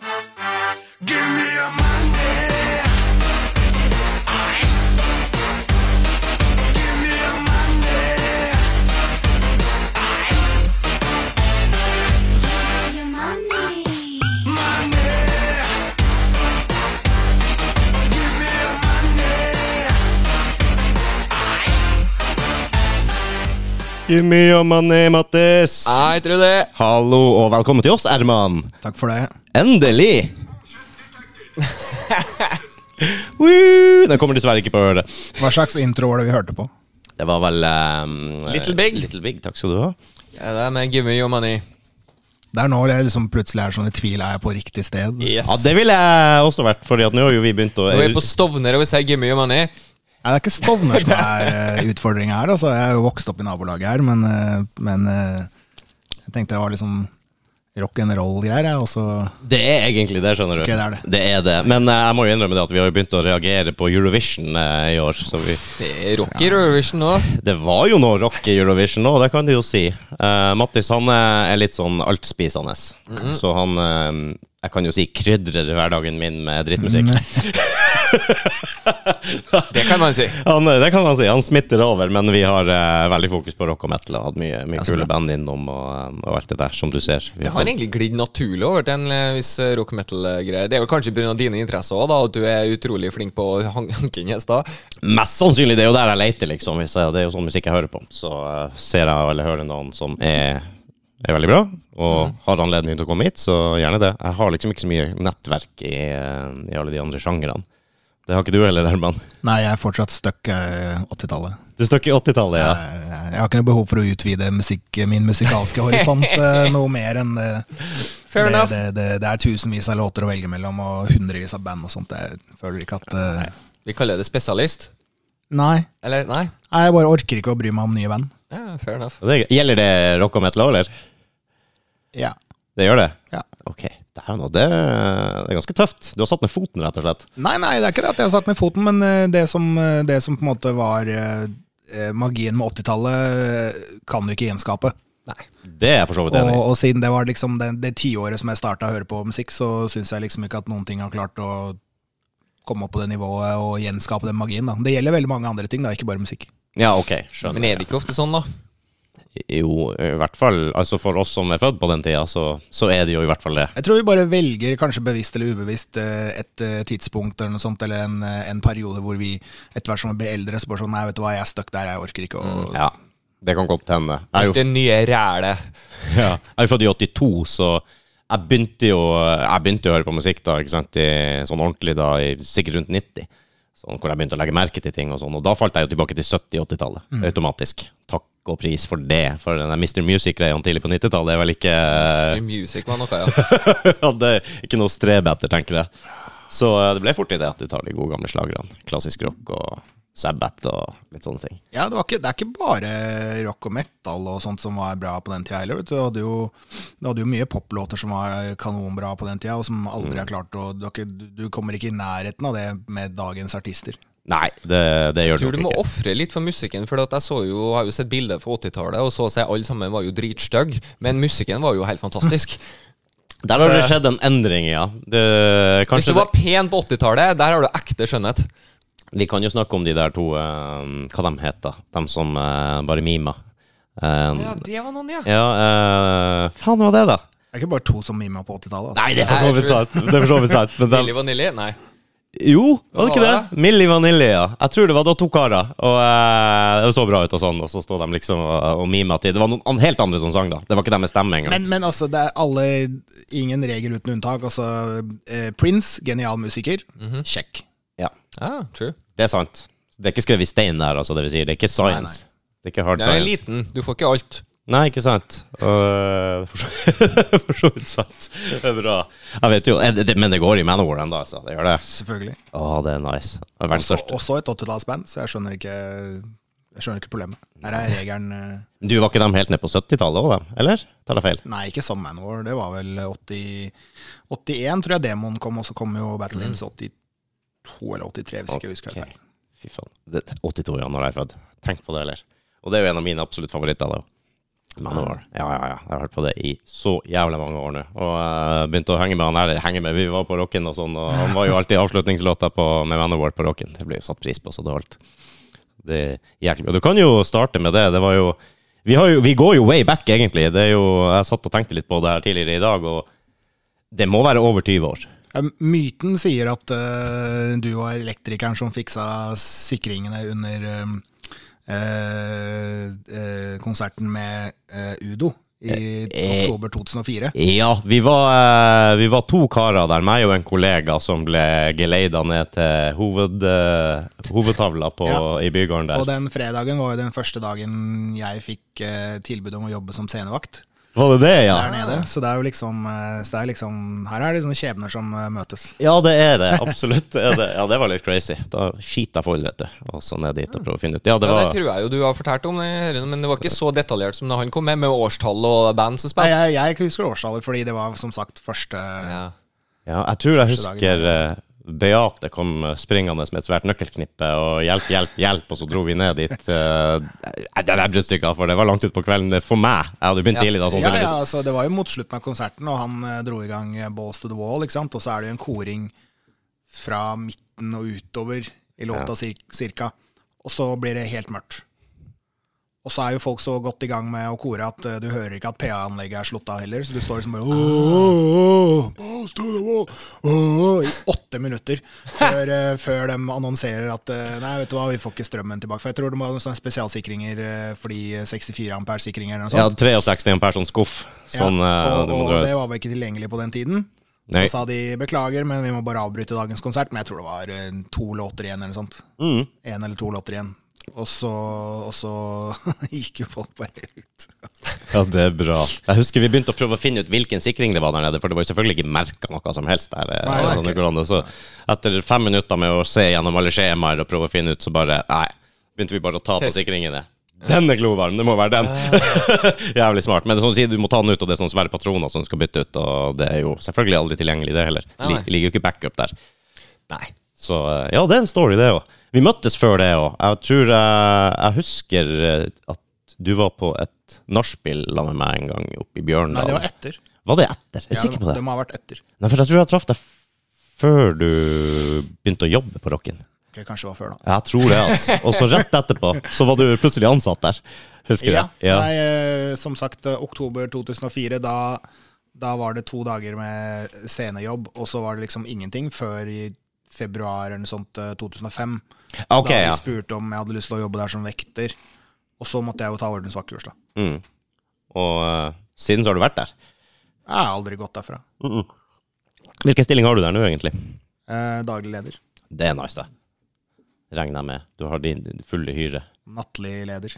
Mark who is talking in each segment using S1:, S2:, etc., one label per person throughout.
S1: Give me your money. Aight. Give me your money.
S2: Your money.
S1: Money. Give me your money.
S3: Give me your money, Mattis.
S4: Hei, Trude.
S3: Ah. Hallo og velkommen til oss, Erman.
S5: Takk for det.
S4: Endelig.
S3: Woo! Den kommer dessverre ikke på øret.
S5: Hva slags intro var det vi hørte på?
S3: Det var vel ehm,
S4: Little Big.
S3: Little Big, Takk skal du ha.
S4: Ja, det er med Give me your money.
S5: Det er nå jeg liksom plutselig er sånn i tvil. Er jeg på riktig sted?
S3: Ja, Det ville jeg også vært, Fordi at nå har jo vi begynt å
S4: Nå er vi på Stovner, og vi sier give me your money.
S5: Nei, det er ikke Stovner som er eh, utfordringa her. Altså, jeg er jo vokst opp i nabolaget her, men, eh, men eh, jeg tenkte det var liksom rock and roll-greier. jeg, Og så
S3: Det er egentlig det, skjønner du.
S5: Ok, det er det.
S3: det er det. Men eh, jeg må jo innrømme det at vi har jo begynt å reagere på Eurovision eh, i år. Så vi,
S4: Det er rock i Eurovision nå.
S3: det var jo noe rock i Eurovision nå, det kan du jo si. Eh, Mattis han eh, er litt sånn altspisende,
S5: Mhm.
S3: så han eh, Jeg kan jo si krydrer hverdagen min med drittmusikk.
S5: Mm.
S4: Det kan man si.
S3: Han, eh, det kan han si. Han smitter over, men vi har eh, veldig fokus på rock og metal. Og hatt mye, mye
S5: så
S3: kule
S5: bra.
S3: band innom og, eh, og alt det der, som du ser. Vi
S4: Det har egentlig glidd naturlig over til en eh, viss eh, rock metal-greie. Det er vel kanskje pga. dine interesser òg, at du er utrolig flink på å han- hanke inn gjester.
S3: Mest sannsynlig, det er jo der jeg leter, liksom. Hvis jeg, det er jo sånn musikk jeg hører på. Så eh, ser jeg eller hører noen som er, er veldig bra, og
S4: Mhm.
S3: har anledning til å komme hit, så gjerne det. Jeg har liksom ikke så mye nettverk i, eh, i alle de andre sjangrene. Det har ikke du heller, Herman.
S5: Nei, jeg er fortsatt stuck eh, 80-tallet.
S3: Du står ikke i 80-tallet, ja.
S5: Jeg, jeg har ikke noe behov for å utvide musikk, min musikalske horisont eh, noe mer enn eh,
S4: Fair
S5: det,
S4: enough.
S5: det, det, det er tusenvis av låter å velge mellom, og hundrevis av band og sånt. Jeg føler ikke at eh,
S4: Vi kaller det spesialist.
S5: Nei.
S4: Eller nei?
S5: Nei, Jeg bare orker ikke å bry meg om nye band.
S4: Ja, fair enough.
S3: Det, gjelder det rock og metal, eller?
S5: Ja.
S3: Det gjør det?
S5: Ja.
S3: Ok. Det er, noe, det, det er ganske tøft. Du har satt ned foten, rett og slett.
S5: Nei, nei, det er ikke det at jeg har satt ned foten, men eh, det som, eh, det som på en måte var eh, eh, magien med 80-tallet, eh, kan du ikke gjenskape.
S4: Nei.
S3: Det er jeg for så vidt
S5: Og,
S3: enig i.
S5: og siden det var liksom det, det tiåret som jeg starta å høre på musikk, så syns jeg liksom ikke at noen ting har klart å komme opp på det nivået og gjenskape den magien. da. Det gjelder veldig mange andre ting, da, ikke bare musikk.
S3: Ja, ok, skjønner.
S4: Men er det ikke ofte sånn, da?
S3: Jo, i hvert fall altså for oss som er født på den tida, så, så er det jo i hvert fall det.
S5: Jeg tror vi bare velger, kanskje bevisst eller ubevisst, eh, et eh, tidspunkt eller noe sånt, eller en, eh, en periode hvor vi etter hvert som vi blir eldre, så bare sånn Nei, vet du hva, jeg er stuck der, jeg orker ikke å
S3: Ja, det kan godt hende. Jeg er
S4: Alt
S3: jo,
S4: det nye rælet.
S3: ja, jeg er jo født i 82, så jeg begynte jo jeg begynte å høre på musikk da, ikke sant, i, sånn ordentlig da, i, sikkert rundt 90. Sånn, hvor jeg begynte å legge merke til ting og sånn. Og da falt jeg jo tilbake til 70-80-tallet,
S4: Mm.
S3: automatisk. Takk og pris for det. For den der Mr. Music-greia tidlig på 90-tallet er vel ikke
S4: Stream music var noe, ja.
S3: Hadde ikke noe å strebe etter, tenker jeg. Så eh, det ble fort i det at du tar de gode gamle slagerne. Klassisk rock og Sabbath og litt sånne ting.
S5: Ja, det, var ikke, det er ikke bare rock og metal og sånt som var bra på den tida heller. vet Du Du hadde jo, du hadde jo mye poplåter som var kanonbra på den tida, og som
S3: Mm.
S5: aldri har klart å du, har ikke, du- du kommer ikke i nærheten av det med dagens artister.
S3: Nei, det, det gjør
S4: Jeg
S3: det
S4: tror du
S3: nok
S4: må
S3: ikke.
S4: ofre litt for musikken, for at jeg så jo, har jo sett bilder fra 80-tallet, og så ser alle sammen var jo dritstygge, men musikken var jo helt fantastisk.
S3: Der har det skjedd en endring, ja. Det,
S4: eh, Hvis
S3: kanskje
S4: du var pen på 80-tallet, der har du ekte
S3: det,
S4: skjønnhet.
S3: vi kan jo snakke om de der to eh, Hva de heter De som eh, bare mimer. Eh, ja,
S4: det var noen,
S3: eh, Faen, hva var det, da?
S5: Det er ikke bare to som mima på 80-tallet. Altså.
S3: Nei, det er for så
S4: Nei, jeg
S3: vidt
S4: tror-
S3: sant. Det er for så vidt sant. Men de,
S4: Billy Vanilli? Nei.
S3: Jo, var det ikke
S4: Hva
S3: det?
S4: var
S3: Milli Vanilli, ja. Jeg tror det var da to karer. Og eh, Det så bra ut og sånn, og så står de liksom og, og mima til. Det var noen an- helt andre som sang, da. Det var ikke dem med stemme engang.
S5: Men, men altså, det er alle Ingen regel uten unntak. Altså, eh, Prince, genial musiker.
S3: Mm.
S5: Kjekk.
S3: Ja,
S4: Mhm. Ah, true.
S3: det er sant. Det er ikke skrevet i stein der, altså, det vil si. Det er ikke science. Det er ikke hard
S4: Du er
S3: science.
S4: liten, du får ikke alt.
S3: Nei, ikke sant. Øh, for så- for så vidt sant. Det er bra. Jeg vet jo, eh, det- Men det går i Manowar ennå, altså. Det gjør det.
S5: Selvfølgelig.
S3: Å, det er nice. Det er Verdens
S5: Også,
S3: største.
S5: også et 80-tallsband, så jeg skjønner ikke Jeg skjønner ikke problemet. Der er regelen eh,
S3: Du var ikke dem helt ned på 70-tallet òg, dem? Eller? Tar jeg feil?
S5: Nei, ikke som Manowar. Det var vel 80, 81, tror jeg demoen kom, og så kom jo Battle Hymns 82 eller 83, hvis ikke jeg husker
S3: Mm. Ok.
S5: helt feil.
S3: Fy faen. Det, 82 år når jeg er født. Tenk på det, eller? Og det er jo en av mine absolutt favoritter. da.
S5: Ah.
S3: Manowar. Ja, ja, ja. Jeg har hørt på det i så jævlig mange år nå. Og eh, begynte å henge med han her. Henge med, Vi var på rocken og sånn, og han var jo alltid avslutningslåta på, med Manowar på rocken. Det ble jo satt pris på, så det holdt. Det er jæklig bra. Du kan jo starte med det. Det var jo vi, har jo vi går jo way back, egentlig. Det er jo, jeg satt og tenkte litt på det her tidligere i dag, og det må være over 20 år.
S5: Ja, Myten sier at eh, du var elektrikeren som fiksa sikringene under eh, eh, konserten med eh, Udo i
S3: eh.
S5: oktober 2004.
S3: Ja, vi var, eh, vi var to karer der, meg og en kollega som ble geleida ned til hoved, eh, hovedtavla på,
S5: Ja.
S3: i bygården
S5: Og
S3: der.
S5: den fredagen var jo den første dagen jeg fikk eh, tilbud om å jobbe som scenevakt
S3: Var det det, ja?
S5: der nede. Så det er jo liksom, eh, så det er liksom Her er det sånne skjebner som eh, møtes.
S3: Ja, det er det. Absolutt. Det Er det. Ja, det var litt crazy. Da skiter jeg full, vet du. Og så ned dit og prøve å finne ut. Ja, det
S4: Ja, det
S3: var
S4: tror jeg jo du har fortalt om, det, men det var ikke så detaljert som da han kom med, med årstall og band som
S5: Nei,
S4: spilte.
S5: jeg, jeg husker årstallet, fordi det var som sagt første
S4: Ja.
S3: Ja, jeg tror jeg
S5: Første dagen.
S3: husker eh, Beate kom springende med et svært nøkkelknippe og 'hjelp, hjelp, hjelp', og så dro vi ned dit. eh, Det er et stykke, for det var langt utpå kvelden for meg. Jeg hadde begynt
S4: Ja.
S3: tidlig da,
S5: Ja, ja,
S3: sannsynligvis.
S5: altså, det var jo mot slutten av konserten, og han eh, dro i gang eh, Balls to the Wall, ikke sant? og så er det jo en koring fra midten og utover i låta cir- cirka, og så blir det helt mørkt. Og så er jo folk så godt i gang med å kore at eh, du hører ikke at PA-anlegget er slått av heller, så du står liksom bare «Åh, åh, åh, Balls to the wall, åh, åh», i åtte minutter før, eh, før de annonserer at eh, nei, vet du hva, vi får ikke strømmen tilbake. For jeg tror det var noen sånne spesialsikringer, eh, fordi 64 ampere-sikringer eller noe sånt.
S3: Ja, 63 ampere sånn skuff. Sånn,
S5: Ja,
S3: eh,
S5: og,
S3: du må
S5: og
S3: dra ut.
S5: det var vel ikke tilgjengelig på den tiden.
S3: Nei.
S5: Da sa de beklager, men vi må bare avbryte dagens konsert. Men jeg tror det var eh, to låter igjen, eller noe sånt.
S3: Mm.
S5: En eller to låter igjen. Og så, og så gikk jo folk bare ut.
S3: Ja, det er bra. Jeg husker vi begynte å prøve å finne ut hvilken sikring det var der nede, for det var jo selvfølgelig ikke merka noe som helst der. eh,
S5: Nei,
S3: eller sånne
S5: ok.
S3: greier. Så etter fem minutter med å se gjennom alle skjemaer og prøve å finne ut, så bare Nei. Begynte vi bare å ta på
S4: Test.
S3: sikringene. Den er glovarm, det må være den. Jævlig smart. Men det er sånn å si, du må ta den ut, og det er sånne svære patroner som du skal bytte ut, og det er jo selvfølgelig aldri tilgjengelig, det heller.
S4: Nei,
S3: Li-
S4: nei.
S3: Ligger jo ikke backup der.
S4: Nei.
S3: Så eh, ja, det er en story, det òg. Vi møttes før det òg. Jeg tror eh, Jeg husker eh, at du var på et nachspiel la med meg en gang oppe i Bjørndalen.
S5: Nei, det var etter.
S3: Var det etter? Jeg er
S5: Ja,
S3: sikker på
S5: de
S3: det.
S5: må ha vært etter.
S3: Nei, for jeg tror jeg traff deg f- før du begynte å jobbe på Rocken.
S5: Ok, kanskje det var før, da.
S3: Jeg tror det, altså. Og så rett etterpå så var du plutselig ansatt der. Husker du?
S5: Ja.
S3: det? Ja.
S5: Nei, eh, som sagt, eh, oktober 2004, da, da var det to dager med scenejobb, og så var det liksom ingenting før i februar eller noe sånt eh, 2005.
S3: Ok,
S5: da
S3: ja.
S5: de spurte om jeg hadde lyst til å jobbe der som vekter. Og så måtte jeg jo ta ordensvaktkurs, da.
S3: Mm. Og eh, siden så har du vært der.
S5: Jeg har aldri gått derfra.
S3: Hvilken stilling har du der nå, egentlig?
S5: Eh, daglig leder.
S3: Det er nice, det. Regner jeg med. Du har din din fulle hyre.
S5: Nattlig leder.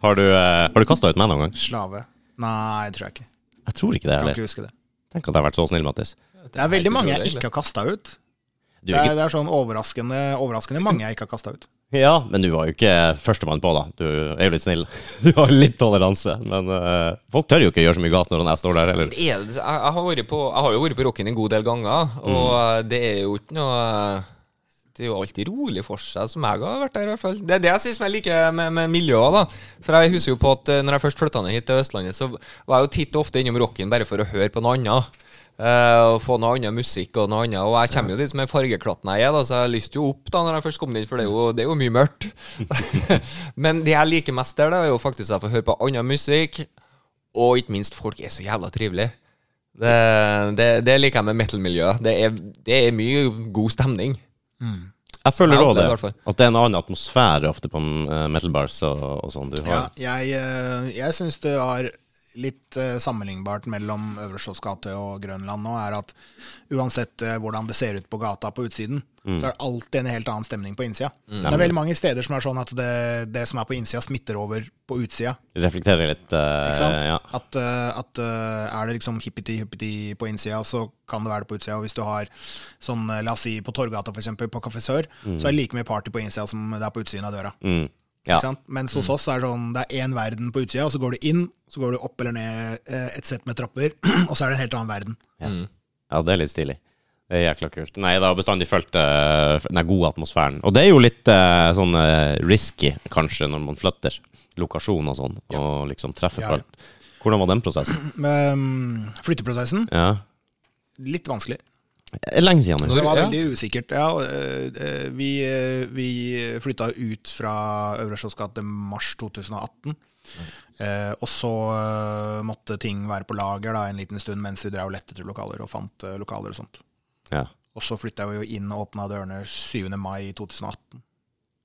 S3: Har du, eh, har du kasta ut meg noen gang?
S5: Slave. Nei, tror jeg ikke.
S3: Jeg tror ikke det
S5: Kan
S3: heller.
S5: ikke huske det.
S3: Tenk at jeg har vært så snill, Mattis.
S5: Det er veldig
S4: helt
S5: mange
S4: utrolig,
S5: jeg ikke har kasta ut.
S3: Du
S5: Det
S3: er
S5: er,
S3: ikke,
S5: det er sånn overraskende, overraskende mange jeg ikke har kasta ut.
S3: ja, men du var jo ikke førstemann på, da. Du er jo litt snill. Du har litt toleranse. Men eh, folk tør jo ikke gjøre så mye galt når jeg står der, heller.
S4: Det er, jeg, jeg, har vært på, jeg har jo vært på rocken en god del ganger, og eh, det er jo ikke noe eh, Det er jo alltid rolig for seg, som jeg har vært der i hvert fall. Det er det jeg synes jeg liker med, med miljøet, da. For jeg husker jo på at eh, når jeg først flytta ned hit til Østlandet, så var jeg jo titt og ofte innom rocken bare for å høre på noe annet. eh, og få noe annen musikk og noe annet. Og jeg kommer jo dit med fargeklatten jeg er, da, så jeg lyste jo opp da når jeg først kom dit, for det er jo, det er jo mye mørkt. Men det jeg liker mest der, da, er jo faktisk at jeg får høre på annen musikk. Og ikke minst, folk er så jævla trivelige. Det, det, det liker jeg med metal-miljøet. Det, er- det er mye god stemning.
S3: Jeg føler
S4: Ja,
S3: òg
S4: det
S3: det.
S4: er i hvert fall.
S3: At det er en annen atmosfære ofte på eh, metal bars og, og sånn. Du
S5: Ja,
S3: har
S5: jeg eh, jeg syns det er litt eh, sammenlignbart mellom Øvre Slotts gate og Grønland nå, er at uansett eh, hvordan det ser ut på gata på utsiden,
S3: Mm.
S5: så er det alltid en helt annen stemning på innsida. Det er veldig mange steder som er sånn at det, det som er på innsida, smitter over på utsida.
S3: reflekterer litt. eh,
S5: Ikke sant?
S3: Ja.
S5: At, eh, at eh, er det liksom hippiti-hippiti på innsida, så kan det være det på utsida. Og hvis du har sånn, eh, la oss si på Torgata for eksempel, på Kafé Sør, så er det like mye party på innsida som det er på utsiden av døra.
S3: Mm. ja.
S5: Ikke sant? Mens hos oss er det sånn, det er én verden på utsida, og så går du inn, så går du opp eller ned eh, et sett med trapper, og så er det en helt annen verden.
S3: Ja, det er litt stilig. Det Det er jækla kult. Nei, det har bestandig fulgt eh, den der gode atmosfæren. Og det er jo litt eh, sånn eh, risky, kanskje, når man flytter lokasjon og sånn, og liksom treffer
S5: Ja, ja.
S3: folk. Hvordan var den prosessen?
S5: Men mm, flytteprosessen,
S3: Ja.
S5: litt vanskelig.
S3: Eh, Lenge siden nå.
S5: Det var
S4: Ja.
S5: veldig usikkert. Ja, og, eh, eh, vi, eh, vi flytta ut fra Øvre Slotts gate mars 2018. Eh, og så eh, måtte ting være på lager da, en liten stund mens vi drev og lette etter lokaler og fant eh, lokaler og sånt.
S3: Ja.
S5: Og så flytta vi jo inn og åpna dørene 7. mai 2018.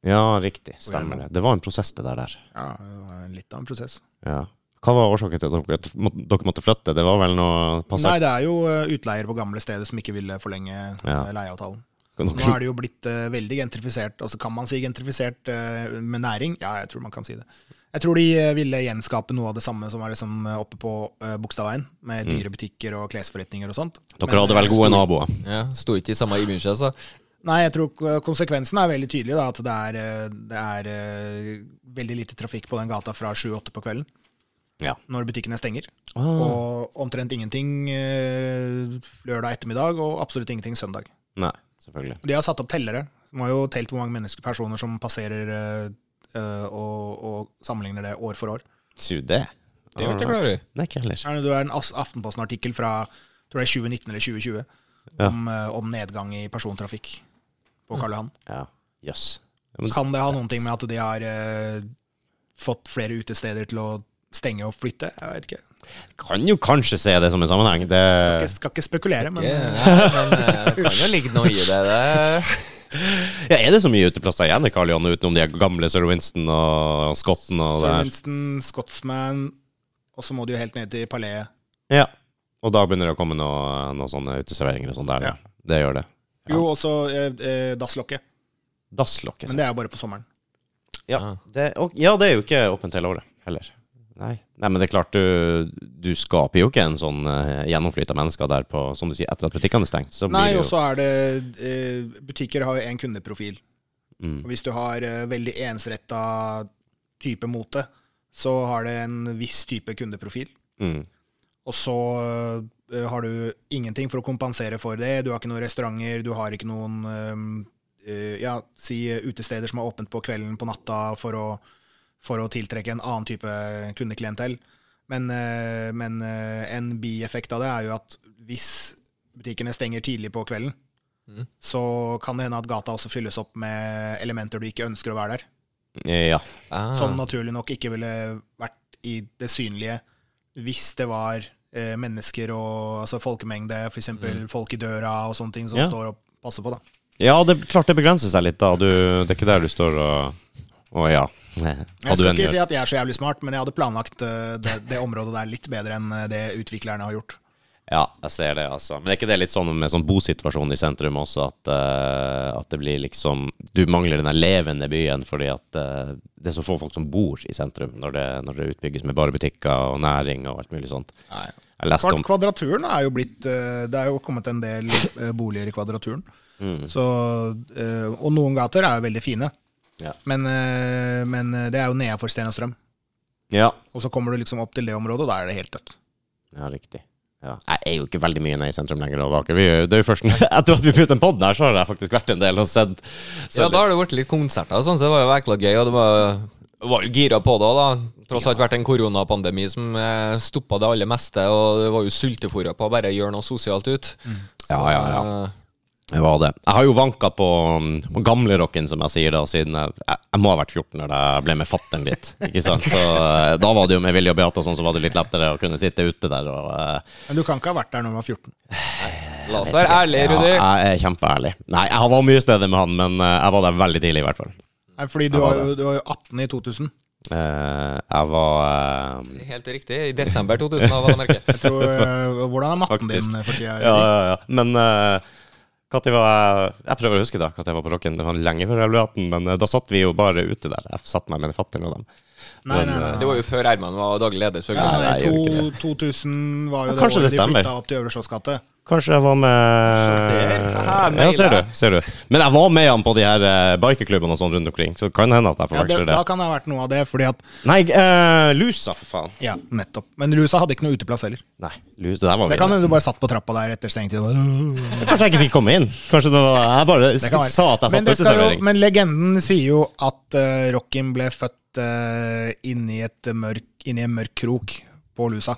S3: ja, riktig. Stemmer det. Det var en prosess, det der. der.
S5: Ja, det var en litt av en prosess.
S3: Ja. Hva var årsaken til at dere- at dere måtte flytte? Det var vel noe
S5: Nei,
S3: passet?
S5: det er jo eh, utleier på gamle stedet som ikke ville forlenge
S3: Ja.
S5: eh, leieavtalen. Nå
S3: Dere-
S5: er det jo blitt eh, veldig gentrifisert. Altså, kan man si gentrifisert eh, med næring? Ja, jeg tror man kan si det. Jeg tror de eh, ville gjenskape noe av det samme som var liksom, eh, oppe på eh, Bogstadveien, med dyre butikker og klesforretninger og sånt.
S3: Mm.
S5: eh,
S3: Dere hadde vel gode naboer?
S4: Ja, Sto ikke i samme image, altså.
S5: Nei, jeg tror k- konsekvensen er veldig tydelig, da, at det er, eh, det er eh, veldig lite trafikk på den gata fra 7-8 på kvelden,
S3: Ja.
S5: når butikkene stenger.
S3: Mm. Ah,
S5: Og omtrent ingenting eh, lørdag ettermiddag, og absolutt ingenting søndag.
S3: Nei, selvfølgelig.
S5: De har satt opp tellere. De har jo telt hvor mange mennesker, personer som passerer, eh, eh, og, og sammenligner det år for år.
S3: Su det. Ah,
S4: Det er jo ikke klar over.
S3: Nei, ikke heller.
S5: Her er Det er en As- Aftenposten-artikkel fra tror jeg 2019 eller 2020
S3: Ja.
S5: om, eh, om nedgang i persontrafikk på Karl Johan.
S3: Ja. Jøss. Ja, men-
S5: Kan det ha noen ting med at de har eh, fått flere utesteder til å stenge og flytte? Jeg vet ikke.
S3: Kan jo kanskje se det som en sammenheng. Det...
S5: Skal ikke, skal ikke spekulere, men
S4: Ja, nei, men eh, det kan jo ligge noe i det. det.
S3: Ja, er det så mye uteplasser igjen i Karl Johan, utenom de gamle Sir Winston og Skotten og det
S5: Sir
S3: her?
S5: Winston, Scotsman, og så må de jo helt ned til Palais.
S3: Ja. Og da begynner det å komme noe- noen sånne uteserveringer og sånn der.
S5: Ja.
S3: Det gjør det. Ja.
S5: Jo, også eh, eh, Dasslokket.
S3: Dasslokket.
S5: Men
S3: så.
S5: det er jo bare på sommeren.
S3: Ja. Det, og, ja, det er jo ikke åpent hele året heller. Nei. Nei, men det er klart, du, du skaper jo ikke en sånn uh, gjennomflyt av mennesker der på, som du sier, etter at butikkene er stengt. Så
S5: Nei,
S3: blir det
S5: og
S3: jo
S5: så er det eh, Butikker har jo én kundeprofil.
S3: Mm.
S5: Og hvis du har eh, veldig ensretta type mote, så har det en viss type kundeprofil.
S3: mm.
S5: Og så eh, har du ingenting for å kompensere for det. Du har ikke noen restauranter, du har ikke noen eh, eh, ja, si eh, utesteder som har åpent på kvelden, på natta, for å, for å tiltrekke en annen type kundeklientell. Men, eh, men eh, en bieffekt av det er jo at hvis butikkene stenger tidlig på kvelden, så kan det hende at gata også fylles opp med elementer du ikke ønsker å være der.
S3: Mm. Ja.
S4: Ah,
S5: Som naturlig nok ikke ville vært i det synlige hvis det var eh, mennesker og altså folkemengde, f.eks. folk i døra og sånne ting som
S3: Mm. Ja.
S5: står og passer på. da.
S3: ja, det er klart det begrenser seg litt da. Du, det er ikke der du står og Å ja.
S5: Jeg skal ikke si at jeg er så jævlig smart, men jeg hadde planlagt eh, det, det området der litt bedre enn eh, det utviklerne har gjort.
S3: Ja, jeg ser det, altså. Men er ikke det litt sånn med sånn bosituasjon i sentrum også, at, eh, at det blir liksom Du mangler den der levende byen fordi at eh, det er så få folk som bor i sentrum når det, når det utbygges med bare butikker og næring og alt mulig sånt.
S4: nei.
S3: Jeg leste
S5: Kvad-
S3: om
S5: Kvadraturen er jo blitt eh, Det er jo kommet en del eh, boliger i Kvadraturen.
S3: Mm.
S5: Så, eh, og noen gater er jo veldig fine,
S3: Ja.
S5: men, eh, men det er jo nedafor Sten og Strøm.
S3: Ja,
S5: Og så kommer du liksom opp til det området, og da er det helt dødt.
S3: ja riktig. Ja. Jeg er jo ikke veldig mye nede i sentrum lenger. og det er ikke- vi- Det er jo først etter at vi puttet den podden her, så har jeg faktisk vært en del og sett. sett
S4: Ja, da
S3: litt.
S4: har det vært litt konserter og sånn, så det var jo ekla gøy. Og det var, var jo gira på det òg, da. Tross alt vært en koronapandemi som eh, stoppa det aller meste, og det var jo sultefòra på å bare gjøre noe sosialt ut.
S3: Ja, ja, ja. Det var det. Jeg har jo vanka på, um, på gamlerocken, som jeg sier da, siden jeg, jeg, jeg må ha vært 14 når jeg ble med fattern dit. Ikke sant? Så eh, da var det jo med Vilje og Beate og sånn, så var det litt lettere å kunne sitte ute der og eh,
S5: Men du kan ikke ha vært der når du var 14.
S4: eh, La oss være ærlige, Rudi.
S3: Ja, jeg er kjempeærlig. Nei, jeg var mye steder med han, men eh, jeg var der veldig tidlig, i hvert fall.
S5: Nei, fordi du
S3: Jeg var
S5: var, jo, du var jo 18 i 2000.
S3: Eh, jeg var eh,
S4: Helt riktig. I desember 2000, da, var det merket.
S5: Jeg tror, eh, hvordan er matten
S3: Faktisk.
S5: din for
S3: Ja,
S5: tida? Erik?
S3: ja, ja. Men eh, Katti var jeg Jeg prøver å huske da Katti var på rocken. Det var lenge før jeg ble 18, men eh, da satt vi jo bare ute der. Jeg satt meg med fattern og dem.
S5: Nei, nei, nei.
S4: Det var jo før Herman var daglig leder. Så
S5: Nei,
S3: nei, jeg gjør
S5: to, 2000 var jo
S3: Ja,
S5: det
S3: kanskje det
S5: året de
S3: stemmer.
S5: flytta opp til Øvre Slottsgate.
S3: Kanskje jeg var med
S4: Ah,
S3: Ja,
S4: naila.
S3: ser du. ser du Men jeg var med han på de her eh, bikerklubbene og sånn rundt omkring, så det kan hende at jeg
S5: Ja, det,
S3: forveksler det.
S5: da kan det ha vært noe av det, fordi at
S3: Nei, eh, lusa, for faen.
S5: Ja, nettopp. Men Rusa hadde ikke noe uteplass heller.
S3: Nei, lus, det der var
S5: Det kan
S3: videre.
S5: hende du bare satt på trappa der etter stengetid. og-
S3: Kanskje jeg ikke fikk komme inn. Kanskje det var, jeg bare
S5: Det kan være.
S3: sa at jeg
S5: Men
S3: satt på
S5: det skal jo-
S3: uteservering.
S5: Men legenden sier jo at uh, Rockin ble født eh, inni, et mørk, inni en mørk krok på Lusa.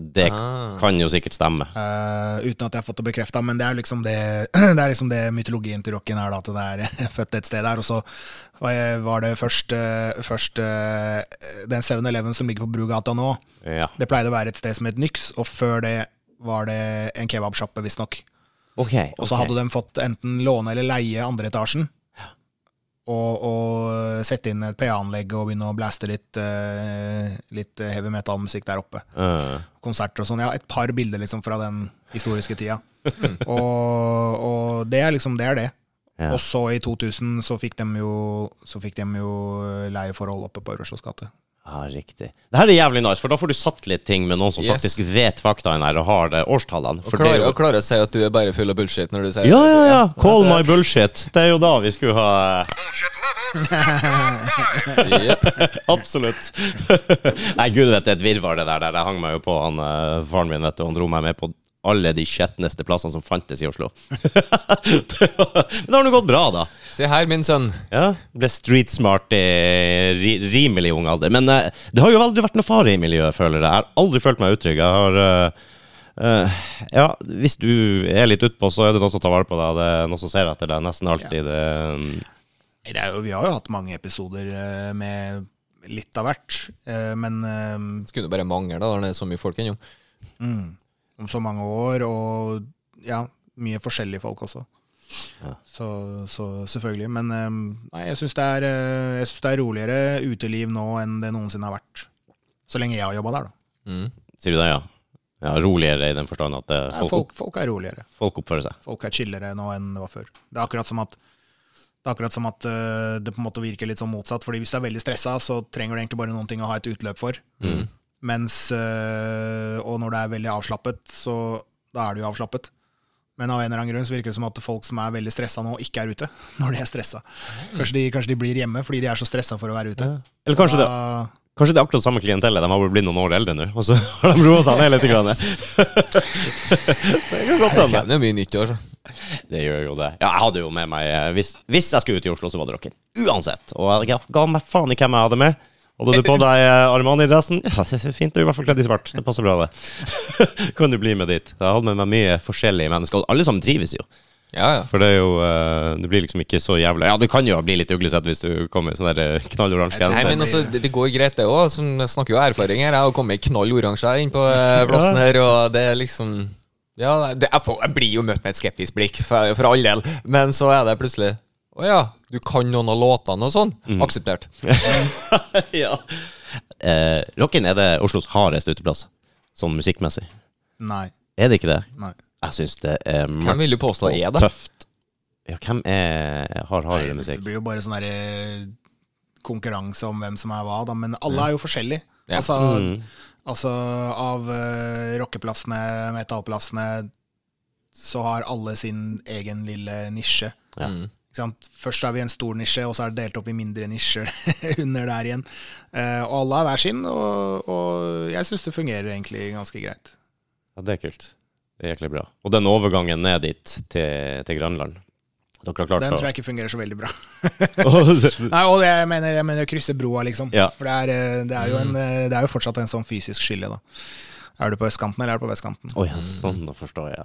S3: Det
S5: Ah.
S3: kan jo sikkert stemme.
S5: Eh, uten at jeg har fått det bekrefta, men det er liksom det, det er liksom det mytologien til rocken er, da, at det er født et sted der. Og så var jeg- var det først, eh, først eh, den 7-Eleven som ligger på Brugata nå.
S3: Ja.
S5: Det pleide å være et sted som het Nyx, og før det var det en kebabsjappe, visstnok.
S3: Ok.
S5: Og så hadde de fått enten låne eller leie andre etasjen. Og, og sette inn et PA-anlegg og begynne å blaste litt, eh, litt heavy metal-musikk der oppe
S3: Uh,
S5: konserter og sånn. Jeg har et par bilder liksom fra den historiske tida. Og, og det er liksom det er det.
S3: Ja.
S5: Og så i 2000 så fikk de jo, så fikk de jo eh, leieforhold oppe på Øverslås gate.
S3: Ja, riktig. Det her er jævlig nice, for da får du satt litt ting med noen som
S4: Yes.
S3: faktisk vet faktaene her og har det, årstallene.
S4: Og
S3: For det er
S4: klarer,
S3: jo-
S4: og klarer å si at du er bare full av bullshit når du sier
S3: ja, ja, ja. Call my bullshit. Det er jo da vi skulle ha eh,
S4: Jep.
S3: Absolutt. Nei, gud vet, det er et virvar, det der. der. Jeg hang meg jo på han eh, faren min, vet du. Han dro meg med på alle de skjetneste plassene som fantes i Oslo. Det var- Men det har nå gått bra, da.
S4: Se her, min sønn.
S3: Ja, Ble street smart i ri, rimelig ung alder. Men eh, det har jo aldri vært noe fare i miljøet, føler jeg. Jeg har aldri følt meg utrygg. Jeg har eh, eh, Ja, hvis du er litt utpå, så er det noen som tar vare på deg. Det er noen som ser etter deg, nesten alltid. Det, eh,
S5: Nei, Det er jo, vi har jo hatt mange episoder eh, med litt av hvert, eh, men eh,
S4: Skulle bare mangle, da, når det er så mye folk innom.
S5: om så mange år, og ja, mye forskjellige folk også. Så, så selvfølgelig. Men eh, nei, jeg syns det, er, eh, jeg synes det er roligere uteliv nå enn det noensinne har vært. Så lenge jeg har jobba der, da.
S4: Mm.
S3: sier du det, ja? Ja, Roligere i den forstand at eh,
S5: Nei,
S3: folk,
S5: folk, folk er roligere.
S3: folk oppfører seg.
S5: Folk er chillere nå enn det var før. Det er akkurat som at det, er akkurat som at eh, det på en måte virker litt sånn motsatt. Fordi hvis du er veldig stressa, så trenger du egentlig bare noen ting å ha et utløp for.
S3: Mm.
S5: Mens eh, Og når du er veldig avslappet, så da er du jo avslappet. Men av en eller annen grunn så virker det som at folk som er veldig stressa nå, ikke er ute når de er stressa. Kanskje, de- kanskje de blir hjemme fordi de er så stressa for å være ute.
S3: Eller kanskje det,
S5: Da-
S3: kanskje det er akkurat samme klientellet. De har bare blitt noen år eldre nå, og så har de roa seg ned litt. Grann. Det kan godt
S4: Det
S3: hende.
S4: kommer jo mye nytt i år, så.
S3: Det gjør jo det. Ja, jeg hadde jo med meg eh, Hvis, hvis jeg skulle ut i Oslo, så var det rocken. Uansett. Og jeg ga meg faen i hvem jeg hadde med. Hadde du på deg eh, Armani-dressen? Ja, det er fint. Du er i hvert fall kledd i svart. Det passer bra, det. kan du bli med dit. Jeg hadde med meg mye forskjellige mennesker. Og alle sammen trives jo.
S4: Ja, ja.
S3: For det er jo eh, Du blir liksom ikke så jævla Ja, du kan jo bli litt uglesett hvis du kommer i sånn der eh, knalloransje
S4: Nei,
S3: genser.
S4: men altså, det, det går greit, det òg. Jeg snakker jo av erfaring her. Jeg har kommet i knall oransje inn på eh, plassen her, og det er liksom Ja, det, jeg, får, jeg blir jo møtt med et skeptisk blikk, for, for all del, men så er det plutselig Å ja, du kan noen av låtene og sånn?
S3: Mm.
S4: Akseptert.
S3: ja. Eh, Rocken er det Oslos hardeste uteplass, sånn musikkmessig.
S5: Nei.
S3: Er det ikke det?
S5: nei.
S3: Jeg syns det er
S4: Hvem
S3: mørkt
S4: vil du påstå er
S3: og
S4: det?
S3: tøft. Ja, hvem er har hardere
S5: Det
S3: musikk?
S5: blir jo bare sånn der, eh, konkurranse om hvem som er hva, da, men alle er jo forskjellige.
S4: Ja.
S5: Altså,
S3: Mm.
S5: altså av eh, rockeplassene, metallplassene, så har alle sin egen lille nisje.
S4: Mm.
S5: Ikke sant? Først er vi en stor nisje, og så er det delt opp i mindre nisjer under der igjen. Eh, og alle er hver sin, og, og jeg syns det fungerer egentlig ganske greit.
S3: Ja, det er kult. Det er jæklig bra. Og den overgangen ned dit, til, til Grønland Dere har klart
S5: Den tror
S3: å
S5: jeg ikke fungerer så veldig bra.
S3: Å,
S5: Nei, og det, jeg mener, jeg mener å krysse broa, liksom.
S3: Ja. Mm.
S5: For det er, eh, det, er jo en, eh, det er jo fortsatt en sånn fysisk skille, da. Er du på østkanten, eller er du på vestkanten?
S3: ja, sånn, da forstår jeg.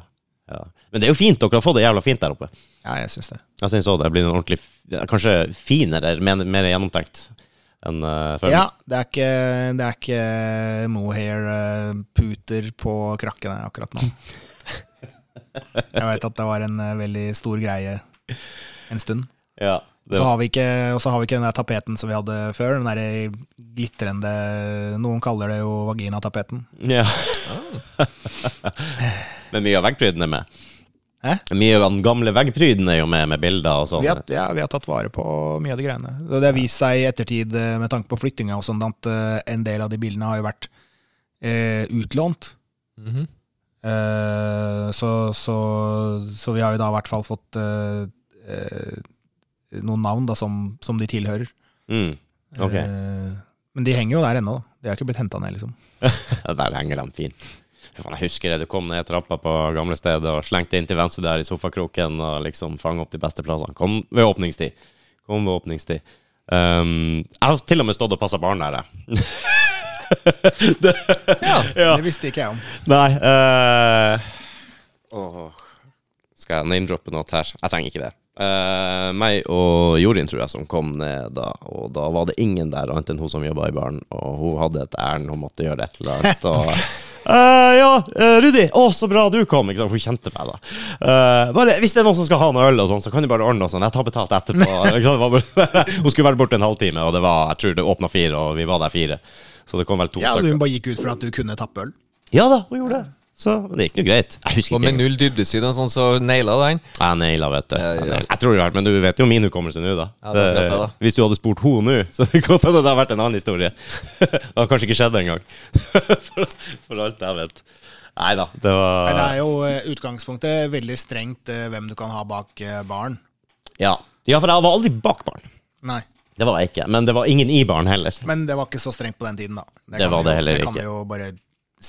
S3: Ja. Men det er jo fint. Dere har fått det jævla fint der oppe.
S5: Ja, jeg syns det.
S3: Jeg syns òg det blir en ordentlig f- Kanskje finere, men mer gjennomtenkt enn eh, før.
S5: Ja, det er ikke, det er ikke mohair-puter på krakkene akkurat nå. Jeg vet at det var en eh, veldig stor greie en stund.
S3: Ja,
S5: Så
S3: det,
S5: har vi ikke, og så har vi ikke den der tapeten som vi hadde før. Den der glitrende Noen kaller det jo vaginatapeten.
S3: ja. Men mye av veggpryden er med.
S5: Hæ?
S3: Mye av den gamle veggpryden er jo med, med bilder og sånn.
S5: Vi har, ja, vi har tatt vare på mye av de greiene. Og Det har vist seg i ettertid, eh, med tanke på flyttinga og sånn, at eh, en del av de bildene har jo vært eh, utlånt.
S4: Mhm.
S5: Eh, så, så, så vi har jo da i hvert fall fått eh, eh, noen navn da, som, som de tilhører.
S3: Mm. Ok.
S5: Eh, men de henger jo der ennå. da. De har ikke blitt henta ned, liksom.
S3: Ja, Der henger de fint. Fy faen, Jeg husker det, du kom ned trappa på gamle stedet og slengte inn til venstre der i sofakroken og liksom fang opp de beste plassene. Kom ved åpningstid. Kom ved åpningstid. Um, jeg har til og med stått og passa barn der, jeg. Ja.
S5: Det visste ikke jeg om.
S3: Nei eh, åh. Skal jeg name-droppe noe her? Jeg trenger ikke det. Eh, meg og Jorin, tror jeg, som kom ned da. Og da var det ingen der annet enn hun som jobba i baren. Og hun hadde et ærend, hun måtte gjøre et eller annet. Og Eh, ja, eh, Rudi, å, så bra du kom! Ikke sant? Hun kjente meg, da. Eh, bare, hvis det er noen som skal ha noe øl, og sånn, så kan du bare ordne noe sånt. Jeg tar betalt etterpå. Ikke sant? Det var bare, hun skulle vært borte en halvtime, og det var, jeg tror det åpna fire, og vi var der fire. Så det kom vel to
S5: Ja, Du
S3: stykker.
S5: bare gikk ut fra at du kunne tappe øl.
S3: Ja da, hun gjorde det. Så men det gikk nå greit. Jeg husker
S4: Og med
S3: ikke. Ah,
S4: null dybdeside og sånn, så naila den.
S3: Jeg naila, vet du.
S4: Ja,
S3: Jeg
S4: ja.
S3: naila. Jeg tror det, var- men du vet jo min hukommelse nå, da.
S4: Ja, det er greit, det da.
S3: Hvis du hadde spurt henne nå, så det kan hende det hadde vært en annen historie. det hadde kanskje ikke skjedd engang. for, for alt jeg vet. Nei da, det var
S5: Nei, Det er jo eh, utgangspunktet veldig strengt eh, hvem du kan ha bak eh, baren.
S3: ja. ja, for jeg var aldri bak barn.
S5: Nei.
S3: Det var jeg ikke. Men det var ingen i barn heller.
S5: Men det var ikke så strengt på den tiden, da.
S3: Det
S5: kan
S3: var
S5: vi
S3: det
S5: jo-
S3: heller
S5: Det kan
S3: ikke.
S5: vi jo bare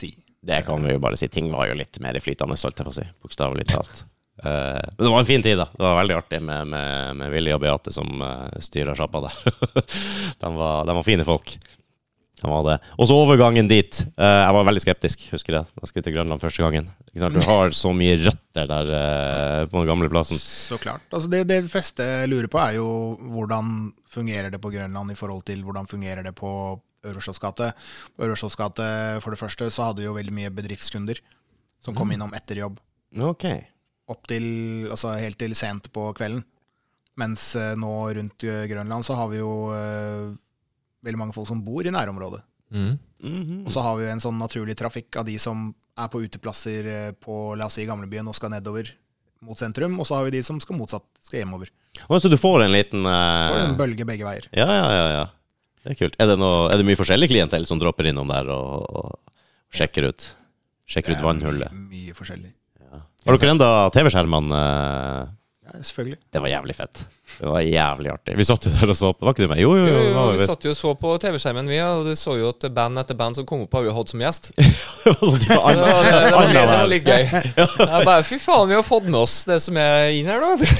S5: si.
S3: Det kan vi jo bare si. Ting var jo litt mer flytende, holdt jeg på å si. Bokstavelig talt. Eh, men det var en fin tid, da. Det var veldig artig med, med, med Willy og Beate som uh, styra sjappa der. de, var, de var fine folk. De var det. Og så overgangen dit. Eh, jeg var veldig skeptisk, husker jeg. Da jeg skulle til Grønland første gangen. Ikke sant? Du har så mye røtter der eh, på den gamle plassen.
S5: Så klart. Altså det, det fleste lurer på, er jo hvordan fungerer det på Grønland i forhold til hvordan fungerer det på Øverslotts gate. På Øverslotts gate, for det første, så hadde vi jo veldig mye bedriftskunder som
S3: Mm.
S5: kom innom etter jobb.
S3: Ok.
S5: Opp til, altså helt til sent på kvelden. Mens eh, nå rundt eh, Grønland så har vi jo eh, veldig mange folk som bor i nærområdet.
S4: Mm.
S3: Mhm.
S5: Og så har vi jo en sånn naturlig trafikk av de som er på uteplasser eh, på la oss si, gamlebyen og skal nedover mot sentrum, og så har vi de som skal motsatt, skal hjemover.
S3: Å, Så du får en liten eh,
S5: Får en bølge begge veier.
S3: Ja, ja, ja. ja. Det er kult. Er det, noe, er det mye forskjellig klientell som dropper innom der og, og sjekker ut? Sjekker ut vannhullet?
S5: Eh, Mye forskjellig.
S3: Har dere enda TV-skjermene? eh?
S5: Ja, selvfølgelig.
S3: Det var jævlig fett. Det var jævlig artig. Vi satt jo der og så på. Var ikke du med? Jo, jo, jo.
S4: Jo,
S3: det
S4: jo,
S3: var vi
S4: vi
S3: visst.
S4: satt jo og så på TV-skjermen, vi, og du så jo at band etter band som kom opp, har vi hatt som gjest.
S3: Det var sånn, de var
S4: Det var,
S3: alle-
S4: det, det var, det var
S3: alle der.
S4: litt gøy. Jeg bare, Fy faen, vi har fått med oss det som er inn her, da.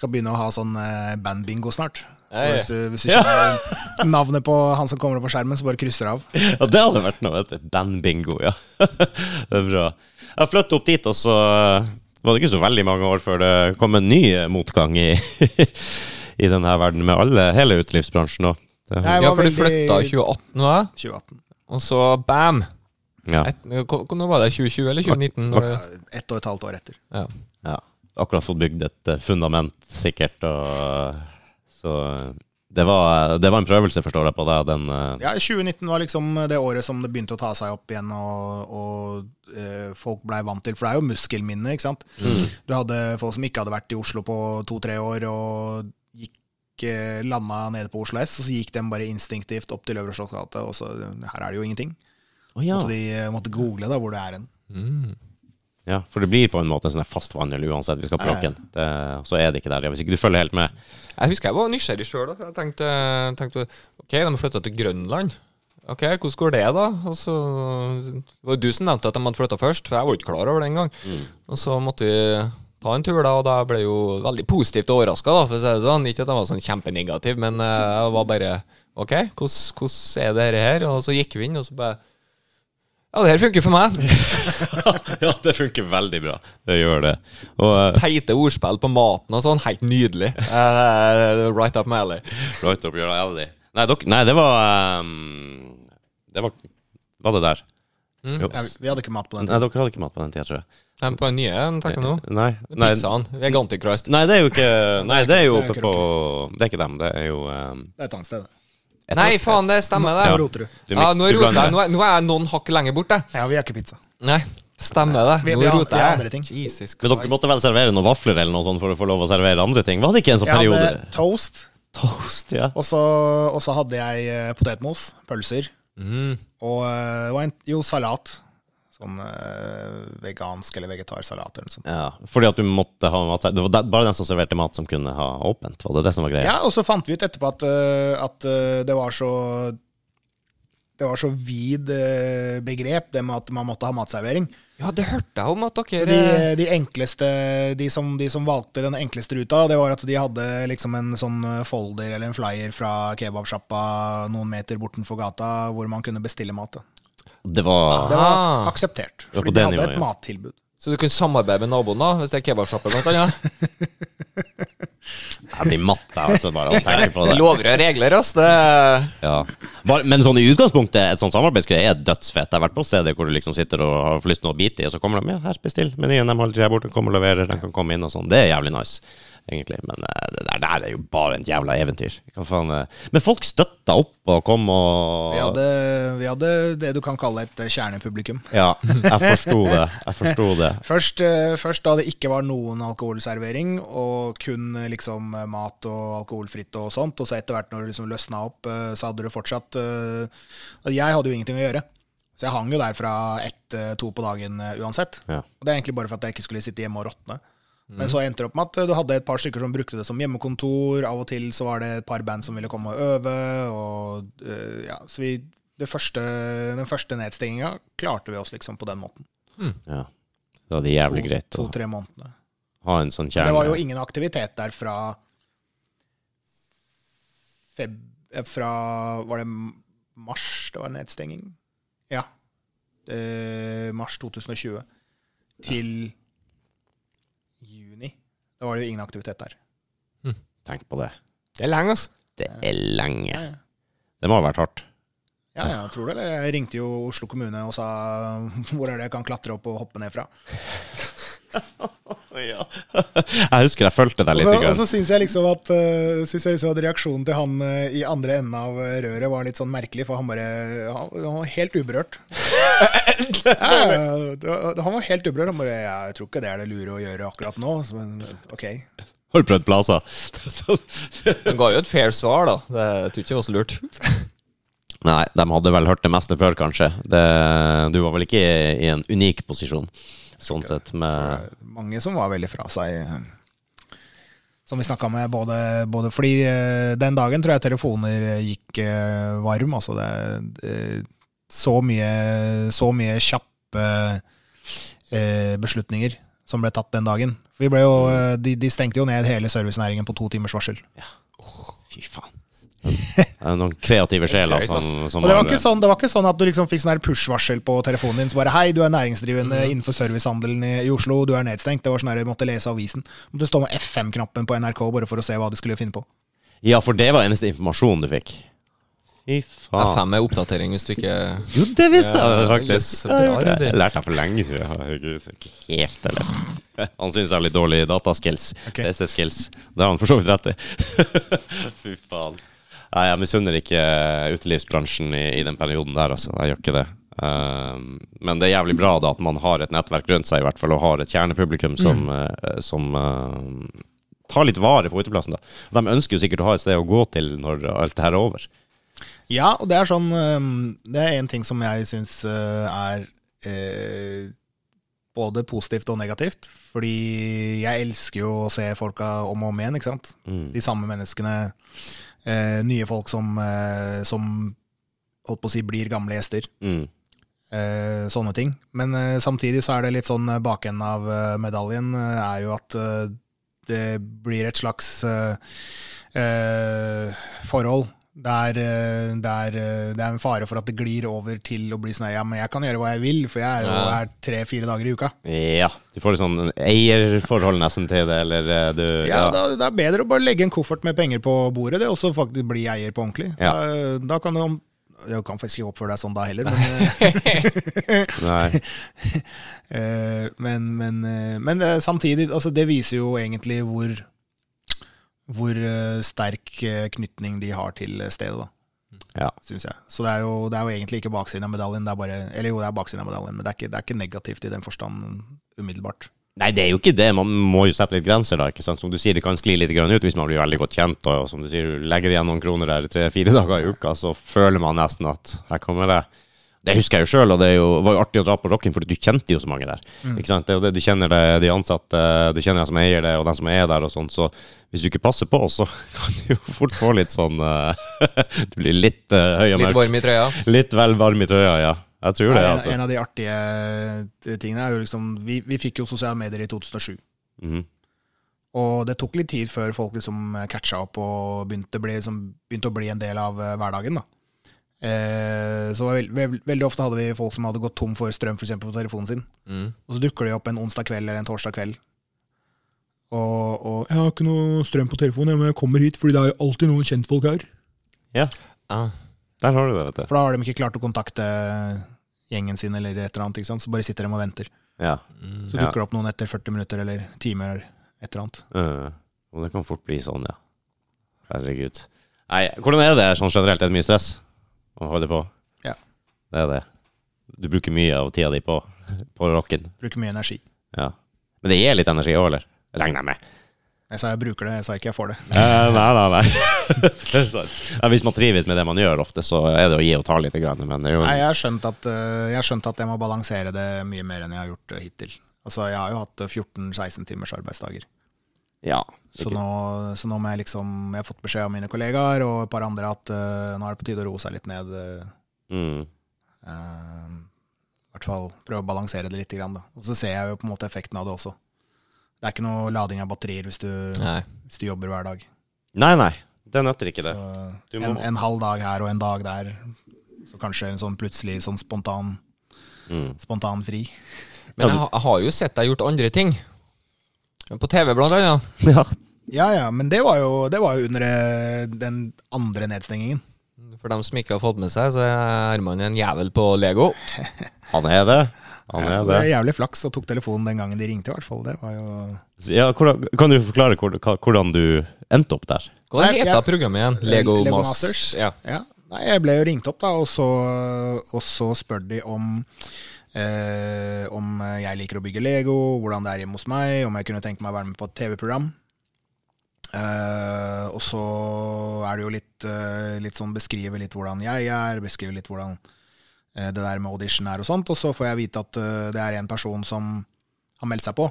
S5: Skal begynne å ha sånn eh, bandbingo snart.
S4: Ja, ja.
S5: Hvis du, hvis du kjenner navnet på han som kommer opp på skjermen, så bare krysser du av.
S3: Ja, det hadde vært noe, vet du. Bandbingo, ja. Det er bra. Jeg flyttet opp dit, og så var det ikke så veldig mange år før det kom en ny eh, motgang i, i denne verden, med alle, hele utelivsbransjen òg.
S5: Jeg
S4: Ja,
S5: var
S4: for du
S5: veldig-
S4: flytta i 2018, hva?
S5: 2018.
S4: og så bam!
S3: Ja.
S4: Et, hvor- hvor- nå var det 2020 eller 2019? Var det?
S5: Eh, Ett og et halvt år etter.
S4: Ja.
S3: ja, akkurat fått bygd et eh, fundament, sikkert. Og, eh, så eh, det var, eh, det var en prøvelse, forstår jeg på deg. Den, eh,
S5: Ja, 2019 var liksom det året som det begynte å ta seg opp igjen, og, og eh, folk blei vant til. For det er jo muskelminne, ikke sant. Du hadde folk som ikke hadde vært i Oslo på to-tre år, og gikk eh, landa nede på Oslo S, og så gikk de bare instinktivt opp til Øvre Slotts gate, og så her er det jo ingenting.
S3: Å ja.
S5: Så de eh, måtte google da hvor det er hen.
S4: Mm.
S3: ja, for det blir på en måte en sånn her fast vandel uansett. Vi skal på
S5: Ja, ja.
S3: rocken. Det, så er det ikke der. Ja, hvis ikke du følger helt med.
S4: Jeg husker jeg var nysgjerrig sjøl, for jeg tenkte, tenkte OK, de har flytta til Grønland. Ok, Hvordan går det, da? Og så, det var jo du som nevnte at de hadde flytta først, for jeg var jo ikke klar over det engang. Og så måtte vi ta en tur, da, og da ble jeg jo veldig positivt overraska, for å si det sånn. Ikke at jeg var sånn kjempenegativ, men eh, jeg var bare OK, hvordan, hvordan er det her? Og så gikk vi inn, og så bare Ja, det her funker for meg.
S3: ja, det funker veldig bra. Det gjør det. Og, eh,
S4: teite ordspill på maten og sånn. Helt nydelig. Eh, right up my alley.
S3: eh, right up your alley. Nei, dok, nei det var ehm, Det var Var det der? Jo.
S5: Ja, vi- vi hadde ikke mat på den
S3: Nei, dere hadde ikke mat på den tida, tror jeg.
S4: Den på den nye, den tenker jeg nå.
S3: Nei, nei,
S4: Pizzaen. Veganticrust.
S3: nei, det er jo ikke Nei, det er jo
S5: Det er
S3: oppe
S5: ikke
S3: på Det er ikke dem, det er jo ehm,
S5: Det er et annet sted.
S3: jeg
S4: Nei,
S3: tror-
S4: faen, det stemmer, det.
S5: roter du.
S3: Du
S4: Ja,
S3: mix-
S4: nå,
S3: du
S4: roter
S3: blander.
S4: jeg, nå, er, nå er jeg noen hakk lenger bort, jeg.
S5: Ja, vi har ikke pizza.
S4: Nei. Stemmer det.
S5: Vi-
S4: Nå
S5: vi har-
S4: roter
S5: vi har
S4: jeg.
S5: andre ting.
S4: Jesus
S3: Men dere
S4: Christ.
S3: måtte vel servere noen vafler eller noe sånt for å få lov å servere andre ting? Var det ikke en sånn
S5: Jeg
S3: periode?
S5: hadde toast,
S3: Toast, ja.
S5: og så, og så hadde jeg eh, potetmos, pølser,
S4: Mm.
S5: og eh, det var en, jo salat. Sånn eh, vegansk eller vegetarsalat eller noe sånt.
S3: ja. Fordi at du måtte ha mat her. Det var der- bare den som serverte mat, som kunne ha åpent. Var det det som var greia?
S5: Ja, og så fant vi ut etterpå at, eh, at eh, det var så Det var så vid eh, begrep, det med at man måtte ha matservering.
S4: Ja, det hørte jeg om at dere
S5: De, de enkleste de som, de som valgte den enkleste ruta, det var at de hadde liksom en sånn folder eller en flyer fra kebabsjappa noen meter bortenfor gata, hvor man kunne bestille mat. Da.
S3: Det var
S5: Det var
S4: Ah.
S5: akseptert,
S3: var på
S5: fordi de
S3: det
S5: hadde
S3: nivået, ja.
S5: et mattilbud.
S4: Så du kunne samarbeide med naboen, da, hvis det er kebabsjappe, blant annet?
S3: Jeg blir matt, jeg, altså, bare av å tenke på det.
S4: Lover og regler, ass. Det
S3: Ja. Bare, men sånn i utgangspunktet, et sånt samarbeidsgreie er dødsfett. Jeg har vært på steder hvor du liksom sitter og har lyst til å bite i, og så kommer de ja, her, bestill menyen. De holder seg borte, kommer og leverer, de kan komme inn og sånn. Det er jævlig nice, egentlig. Men eh, det der, der er jo bare et jævla eventyr. Hva faen eh. Men folk støtta opp og kom og
S5: Vi hadde, vi hadde det du kan kalle et eh, kjernepublikum.
S3: Ja, jeg forsto det. Jeg forsto det.
S5: Først, eh, først da det ikke var noen alkoholservering, og kun eh, liksom eh, mat og alkoholfritt og sånt, og så etter hvert når det liksom løsna opp, eh, så hadde du fortsatt eh, Jeg hadde jo ingenting å gjøre, så jeg hang jo der fra ett-to på dagen eh, uansett.
S3: Ja. Mhm.
S5: Og det er egentlig bare for at jeg ikke skulle sitte hjemme og råtne. Men så endte det opp med at eh, du hadde et par stykker som brukte det som hjemmekontor, av og til så var det et par band som ville komme og øve, og eh, ja, så vi det første, Den første nedstenginga klarte vi oss liksom på den måten.
S3: Ja. Det var jævlig greit å
S5: To-tre månedene.
S3: ha en sånn kjerne.
S5: Det var jo ingen aktivitet der fra feb... eh, Fra Var det mars det var nedstenging? Ja. Eh, mars 2020 til juni. Da var det jo ingen aktivitet der.
S3: Tenk på det.
S4: er lenge, ass.
S3: Det er lenge.
S5: Ja, ja.
S3: Det må ha vært hardt.
S5: Ja, ja, jeg tror det. eller? Jeg ringte jo Oslo kommune og sa hvor er det jeg kan klatre opp og hoppe ned fra.
S3: Jeg husker jeg fulgte deg
S5: Og
S3: litt.
S5: så,
S3: i gang.
S5: og så syns jeg liksom at eh, synes jeg liksom at reaksjonen til han eh, i andre enden av eh, røret var litt sånn merkelig, for han bare Han, han var helt uberørt. ja, ja, det var- han var helt uberørt. Han bare ja, 'Jeg tror ikke det er det lure å gjøre akkurat nå', så, men ok.
S3: Har du prøvd Plaza?
S4: Den ga jo et fair svar, da. Det jeg tror ikke det var så lurt.
S3: Nei, de hadde vel hørt det meste før, kanskje. Det, du var vel ikke i en unik posisjon, sånn sett. Med,
S5: mange som var veldig fra seg. eh, Som vi snakka med både, både Fordi eh, den dagen tror jeg telefoner gikk eh, varm. Altså det, eh, så mye, så mye kjappe eh, beslutninger som ble tatt den dagen. For vi ble jo, eh, de, de stengte jo ned hele servicenæringen på to timers varsel.
S3: fy faen. Det er noen kreative sjeler
S4: Drøyt,
S3: som,
S4: ass.
S3: som
S5: Og det var
S3: har-
S5: ikke sånn, det var ikke sånn at du liksom fikk sånn her push-varsel på telefonen din. Så bare hei, du er næringsdrivende innenfor servicehandelen i, i Oslo, du er nedstengt. Det var sånn her, du måtte lese avisen. Måtte stå med FM-knappen på NRK bare for å se hva du skulle finne på.
S3: Ja, for det var eneste informasjon du fikk. Fy faen.
S4: F5 er oppdatering hvis du ikke
S3: Jo, det visste
S4: Ja,
S3: jeg
S4: jøss,
S3: faktisk.
S4: bra,
S3: Jeg har gjort det.
S4: Rudi.
S3: Jeg lærte det for lenge siden. Herregud, det er ikke Helt, eller? Han syns jeg har litt dårlige dataskills.
S5: Ok.
S3: PC-skills. Det har han for så vidt rett i. Fy faen. Nei, jeg misunner ikke eh, utelivsbransjen i, i den perioden der, altså. Jeg gjør ikke det. Um, men det er jævlig bra da at man har et nettverk rundt seg, i hvert fall, og har et kjernepublikum som, eh, som eh, tar litt vare på uteplassen. da. De ønsker jo sikkert å ha et sted å gå til når alt det her er over.
S5: Ja, og det er sånn øhm, Det er en ting som jeg syns er eh, både positivt og negativt. Fordi jeg elsker jo å se folka om og om igjen, ikke sant.
S3: Mm.
S5: De samme menneskene. eh, nye folk som, eh, som holdt på å si blir gamle gjester.
S3: Mm.
S5: eh, sånne ting. Men eh, samtidig så er det litt sånn eh, bakenden av eh, medaljen eh, er jo at eh, det blir et slags eh, eh, forhold der, eh, der eh, det er en fare for at det glir over til å bli sånn her, ja, men jeg kan gjøre hva jeg vil, for jeg er jo
S4: Ja.
S5: her tre-fire dager i uka.
S3: Ja, du får et sånn eierforhold nesten til det, eller eh, du
S5: Ja, da, Det er bedre å bare legge en koffert med penger på bordet, det, og så faktisk bli eier på ordentlig.
S3: Ja.
S5: Da, da kan du om Du kan faktisk ikke oppføre deg sånn da heller, men eh,
S3: Nei.
S5: Eh, men men, eh, men eh, samtidig, altså, det viser jo egentlig hvor hvor eh, sterk eh, knytning de har til stedet. da.
S3: Ja.
S5: synes jeg. Så det er, jo, det er jo egentlig ikke baksiden av medaljen. Det er bare, eller jo, det er baksiden av medaljen, men det er ikke, det er ikke negativt i den forstand umiddelbart.
S3: Nei, det er jo ikke det. Man må jo sette litt grenser, da. ikke sant? Som du sier, det kan skli litt grann ut hvis man blir veldig godt kjent. Og som du sier, du legger igjen noen kroner der tre-fire dager i uka, så føler man nesten at her kommer det. Det husker jeg jo sjøl, og det er jo, var jo artig å dra på Rocken, for du kjente jo så mange der. ikke sant? Det er jo det, Du kjenner det, de ansatte, du kjenner dem som eier det, og dem som er der og sånn. Så hvis du ikke passer på, så kan du jo fort få litt sånn eh, Du blir litt eh, høy og
S4: Litt
S3: mørk.
S4: varm i trøya.
S3: Litt vel varm i trøya, ja. Jeg tror det,
S5: en,
S3: altså.
S5: en av de artige tingene er jo liksom Vi, vi fikk jo sosiale medier i 2007.
S3: Mhm.
S5: Og det tok litt tid før folk liksom catcha opp og begynte, å bli, liksom, begynte å bli en del av eh, hverdagen. da. Eh, så veld, veld, Veldig ofte hadde vi folk som hadde gått tom for strøm for eksempel, på telefonen sin.
S4: Mm.
S5: Og så dukker de opp en onsdag kveld eller en torsdag kveld. Og, og 'Jeg har ikke noe strøm på telefonen, jeg, men jeg kommer hit fordi det er jo alltid noen kjentfolk her'.
S3: Ja,
S4: Ah.
S3: der har du det, vet du.
S5: For da har de ikke klart å kontakte gjengen sin eller et eller annet, ikke sant? så bare sitter de og venter.
S3: Ja.
S5: Så dukker det opp noen etter 40 minutter eller timer eller et eller annet.
S3: Eh, Og det kan fort bli sånn, ja. Herregud. Nei, hvordan er det sånn generelt? Er det mye stress å holde på?
S5: Ja.
S3: Det er det. Du bruker mye av tida di på, på rocken.
S5: Bruker mye energi.
S3: Ja. Men det gir litt energi òg, eller? Regner jeg med.
S5: Jeg sa jeg bruker det, jeg sa ikke jeg får det.
S3: Eh, nei, nei, nei. det er sant. Ja, hvis man trives med det man gjør ofte, så er det å gi og ta litt. Grann, men det er jo,
S5: Nei, jeg har skjønt at, eh, jeg, har skjønt at jeg må balansere det mye mer enn jeg har gjort eh, hittil. Altså, jeg har jo hatt eh, 14-16 timers arbeidsdager.
S3: ja.
S5: Så nå, så nå må jeg liksom Jeg har fått beskjed av mine kollegaer og et par andre at eh, nå er det på tide å roe seg litt ned. eh,
S3: Mm.
S5: eh, I hvert fall prøve å balansere det litt. Grann, da. Og så ser jeg jo på en måte effekten av det også. Det er ikke noe lading av batterier hvis du,
S4: Nei.
S5: hvis du jobber hver dag.
S3: Nei, nei. Det nøtter ikke det.
S5: Så
S3: Du må-
S5: en, en halv dag her og en dag der. Så kanskje en sånn plutselig sånn spontan,
S3: Mm.
S5: spontan fri.
S4: Men jeg, ha- jeg har jo sett deg gjort andre ting. På TV, blant annet.
S3: Ja.
S5: Ja ja, men det var jo, det var jo under eh, den andre nedstengingen.
S4: For dem som ikke har fått med seg, så er Herman en jævel på Lego.
S3: Han er det. Han
S5: Ja,
S3: er
S5: det
S3: det.
S5: er jævlig flaks og tok telefonen den gangen de ringte, i hvert fall. Det var jo
S3: Ja, hvordan, kan du forklare hvor- hva- hvordan du endte opp der?
S4: Hva
S5: Nei,
S4: heter
S5: jeg-
S4: programmet igjen? Lego,
S5: Lego
S4: Masters.
S5: Masters.
S4: Ja.
S5: Ja. Nei, jeg ble jo ringt opp, da, og så, og så spør de om eh, om jeg liker å bygge Lego, hvordan det er hjemme hos meg, om jeg kunne tenke meg å være med på et TV-program. Eh, og så er det jo litt, eh, litt sånn beskrive litt hvordan jeg er, beskrive litt hvordan eh, det der med audition er og sånt, og så får jeg vite at eh, det er en person som har meldt seg på,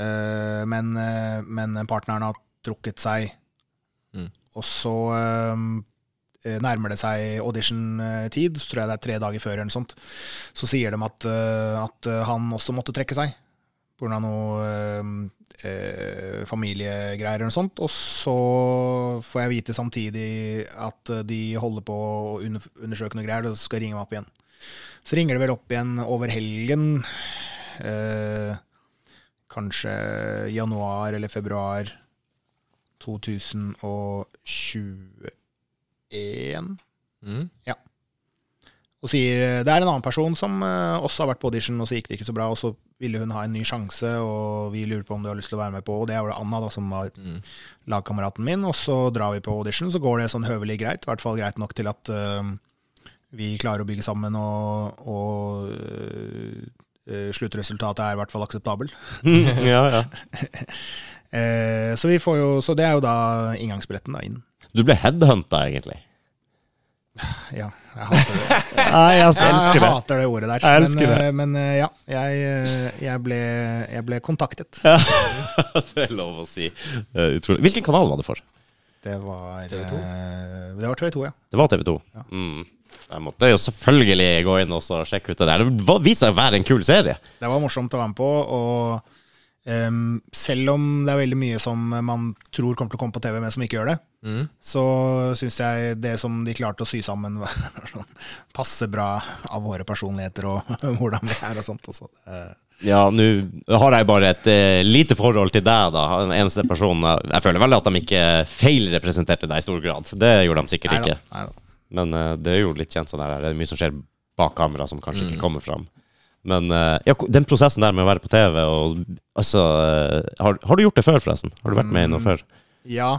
S5: Eh, men, eh, men partneren har trukket seg.
S4: Mm.
S5: Og så eh, nærmer det seg audition-tid, så tror jeg det er tre dager før eller noe sånt, så sier de at, eh, at han også måtte trekke seg pga. noe eh, eh, familiegreier eller noe sånt. Og så får jeg vite samtidig at eh, de holder på å under- undersøke noe greier, og så skal jeg ringe meg opp igjen. Så ringer det vel opp igjen over helgen. Eh, kanskje januar eller februar 2021.
S4: Mm.
S5: og sier eh, det er en annen person som eh, også har vært på audition, og så gikk det ikke så bra, og så ville hun ha en ny sjanse, og vi lurer på om du har lyst til å være med på, og det er jo Anna da, som var
S4: Mm.
S5: lagkameraten min, og så drar vi på audition, så går det sånn høvelig greit, i hvert fall greit nok til at eh, vi klarer å bygge sammen, og, og eh, eh, sluttresultatet er i hvert fall akseptabel.
S3: ja, ja.
S5: Eh, så, vi får jo, så det er jo da inngangsbilletten da, inn.
S3: Du ble headhunta, egentlig.
S5: Ja, jeg hater det.
S3: Nei, jeg
S5: Jeg
S3: elsker det.
S5: hater det ordet der.
S3: Jeg elsker
S5: men,
S3: det.
S5: eh, Men eh, ja, jeg, eh, jeg, ble, jeg ble kontaktet.
S3: Det er lov å si. Det er Utrolig. Hvilken kanal var det for?
S5: Det var
S4: TV2?
S5: eh, Det var TV2, ja.
S3: Det var TV 2. Mm. Jeg måtte jo selvfølgelig gå inn og så sjekke ut det der. Det var- viste seg å være en kul serie.
S5: Det var morsomt å være med på, og ehm, selv om det er veldig mye som man tror kommer til å komme på TV, men som ikke gjør det,
S4: Mm.
S5: så syns jeg det som de klarte å sy sammen, var sånn passe bra av våre personligheter og hvordan vi er og sånt. Også. Eh,
S3: Ja, nå har jeg bare et eh, lite forhold til deg, da. Den eneste personen jeg- Jeg føler vel at de ikke feilrepresenterte deg i stor grad. Det gjorde de sikkert
S5: nei da,
S3: ikke.
S5: nei da.
S3: Men eh, det er jo litt kjent sånn her. Det er mye som skjer bak kamera som kanskje ikke kommer fram. Men eh, ja, ko- den prosessen der med å være på TV Mm. og altså eh, har, har du gjort det før, forresten? Har du vært med i noe før?
S5: Ja,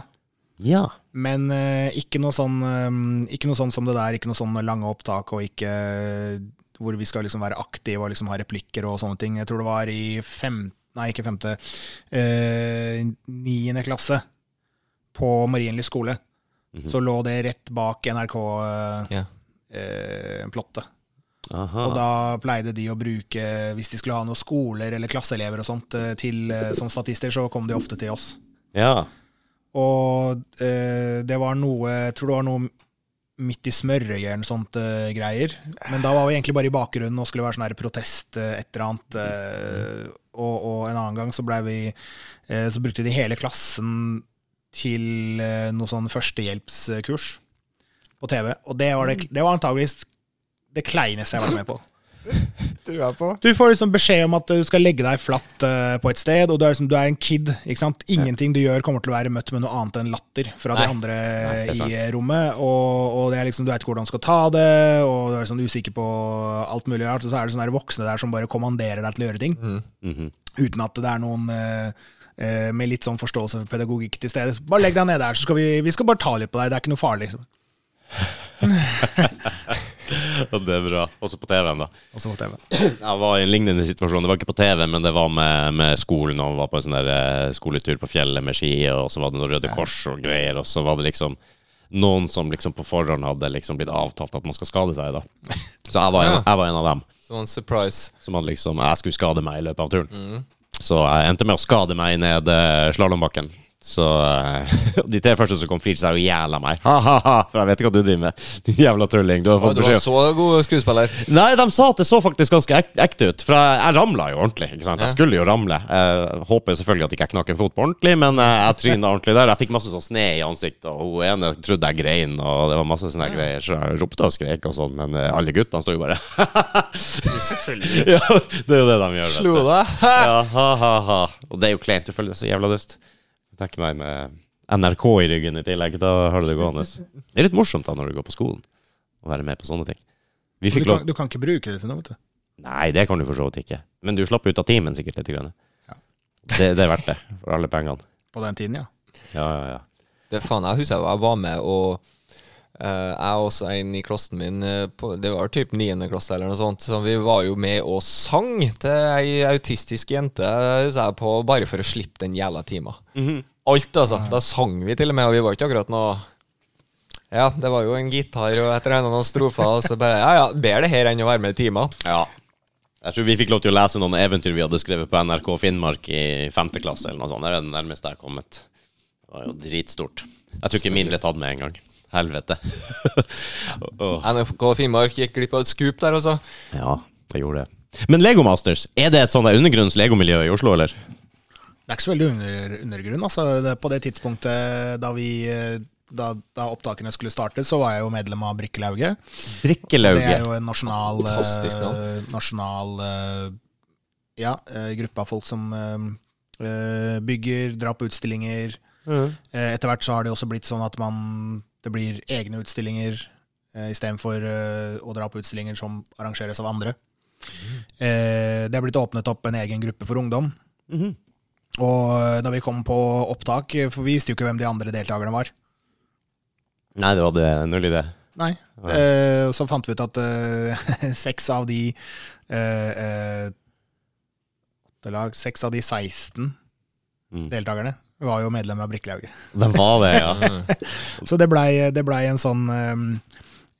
S3: Ja.
S5: Men eh, ikke, noe sånn, eh, ikke noe sånn som det der, ikke noe sånn lange opptak og ikke eh, hvor vi skal liksom være aktive og liksom ha replikker og sånne ting. Jeg tror det var i fem, nei, ikke femte, eh, niende klasse på Marienlyst skole. Så lå det rett bak NRK-plottet.
S4: Ja.
S5: Eh, plottet.
S3: Aha.
S5: og da pleide de å bruke, hvis de skulle ha noen skoler eller klasseelever og sånt, eh, til, eh, som statister, så kom de ofte til oss.
S3: Ja.
S5: Og eh, det var noe Jeg tror det var noe midt i smørøyet eller sånt eh, greier. Men da var vi egentlig bare i bakgrunnen og skulle være sånn her protest eh, et eller annet. eh, og, og en annen gang så blei vi eh, Så brukte de hele klassen til eh, noe sånn førstehjelpskurs på TV. Og det var, det, det var antageligvis det kleineste jeg har vært med på.
S4: Tror jeg på.
S5: Du får liksom beskjed om at du skal legge deg flatt eh, på et sted, og du er, liksom, du er en kid. ikke sant? Ingenting du gjør kommer til å være møtt med noe annet enn latter fra de
S4: Nei.
S5: andre
S3: Nei, det er sant.
S5: i rommet. Og, og det er liksom, du veit ikke hvordan du skal ta det, og du er liksom usikker på alt mulig rart. Og så er det sånne der voksne der som bare kommanderer deg til å gjøre ting,
S3: Mhm.
S5: uten at det er noen eh, eh, med litt sånn forståelse for pedagogikk til stede. Så Bare legg deg ned der, så skal vi, vi skal bare ta litt på deg. Det er ikke noe farlig. liksom.
S3: Det er bra. Også på TV-en, da.
S5: Og så måtte jeg bare-
S3: Jeg var i en lignende situasjon. Det var ikke på TV, men det var med, med skolen. Og vi var på en sånn der eh, skoletur på fjellet med ski, og så var det noe Røde Kors og greier. Og så var det liksom noen som liksom på forhånd hadde liksom blitt avtalt at man skal skade seg. da Så jeg var en,
S4: Ja.
S3: jeg var en av dem
S4: Sånn surprise.
S3: som hadde liksom Jeg skulle skade meg i løpet av turen. Så jeg endte med å skade meg ned eh, slalåmbakken. Så eh, de tre første som kom, flirte seg og jæla meg. Ha-ha-ha, for jeg vet ikke hva du driver med. Din jævla trølling. Du har
S4: Å,
S3: fått
S4: du var
S3: beskjed.
S4: så god skuespiller.
S3: Nei, de sa at det så faktisk ganske ek ekte ut. For jeg, jeg ramla jo ordentlig. ikke sant? Jeg skulle jo ramle. Jeg håper selvfølgelig at ikke jeg knakk en fot på ordentlig, men eh, jeg tryna ordentlig der. Jeg fikk masse sånn sne i ansiktet, og hun ene trodde jeg grein, og det var masse sånne greier. Så jeg ropte og skrek og sånn, men eh, alle guttene sto jo bare
S4: Selvfølgelig.
S3: Ja, det er jo det de gjør. vet du.
S4: Slo deg.
S3: Ja, ha, ha, ha. Og det er jo kleint. Du føler deg så jævla dust. Jeg tenker meg med NRK i ryggen i tillegg. Da har du det gående. Det er litt morsomt da når du går på skolen, å være med på sånne ting. Vi
S5: Du
S3: fikk lov
S5: kan, du kan ikke bruke det til noe, vet du.
S3: Nei, det kan du for så vidt ikke. Men du slapp ut av timen sikkert litt. Grann.
S5: Ja.
S3: Det, det er verdt det, for alle pengene.
S5: På den tiden, ja.
S3: Ja, ja, ja.
S4: Det faen, jeg husker jeg var med og eh, jeg og også en i klassen min, eh, på, det var typ 9. klasse eller noe sånt, så vi var jo med og sang til ei autistisk jente, sa jeg på, bare for å slippe den jævla timen.
S3: Mhm.
S4: Alt, altså. Da sang vi til og med, og vi var ikke akkurat noe Ja, det var jo en gitar og et eller annet noen strofer, og så bare Ja, ja, bedre det her enn å være med i timen.
S3: Jeg tror vi fikk lov til å lese noen eventyr vi hadde skrevet på NRK Finnmark i femte klasse. eller noe sånt. Det er det nærmeste jeg har kommet. Det var jo dritstort. Jeg tror ikke min ble tatt med engang. Helvete. Åh.
S4: NRK Finnmark gikk glipp av et skup der, altså.
S3: Ja, det gjorde det. Men Lego Masters, er det et sånt der undergrunns legomiljø i Oslo, eller?
S5: Det er ikke så veldig under, undergrunn. Altså, det, på det tidspunktet da, vi, eh, da, da opptakene skulle starte, så var jeg jo medlem av Brikkelauget. Det er
S3: Brikkelauget.
S5: jo en nasjonal, eh,
S4: Fantastisk
S5: nasjonal eh, ja, eh, gruppe av folk som eh, eh, bygger, drar på utstillinger. Eh, Etter hvert så har det også blitt sånn at man, det blir egne utstillinger eh, istedenfor eh, å dra på utstillinger som arrangeres av andre. Eh, Det er blitt åpnet opp en egen gruppe for ungdom.
S3: Mm-hmm.
S5: Og da vi kom på opptak, eh, for vi visste jo ikke hvem de andre deltakerne var.
S3: Nei, du hadde null idé.
S5: Nei. Eh, og så fant vi ut at eh, seks av de eh, eh, åtte lag, Seks av de 16
S3: Mm.
S5: deltakerne var jo medlemmer av Brikkelauget.
S3: Hvem var det, ja?
S5: Så det blei det ble en sånn eh,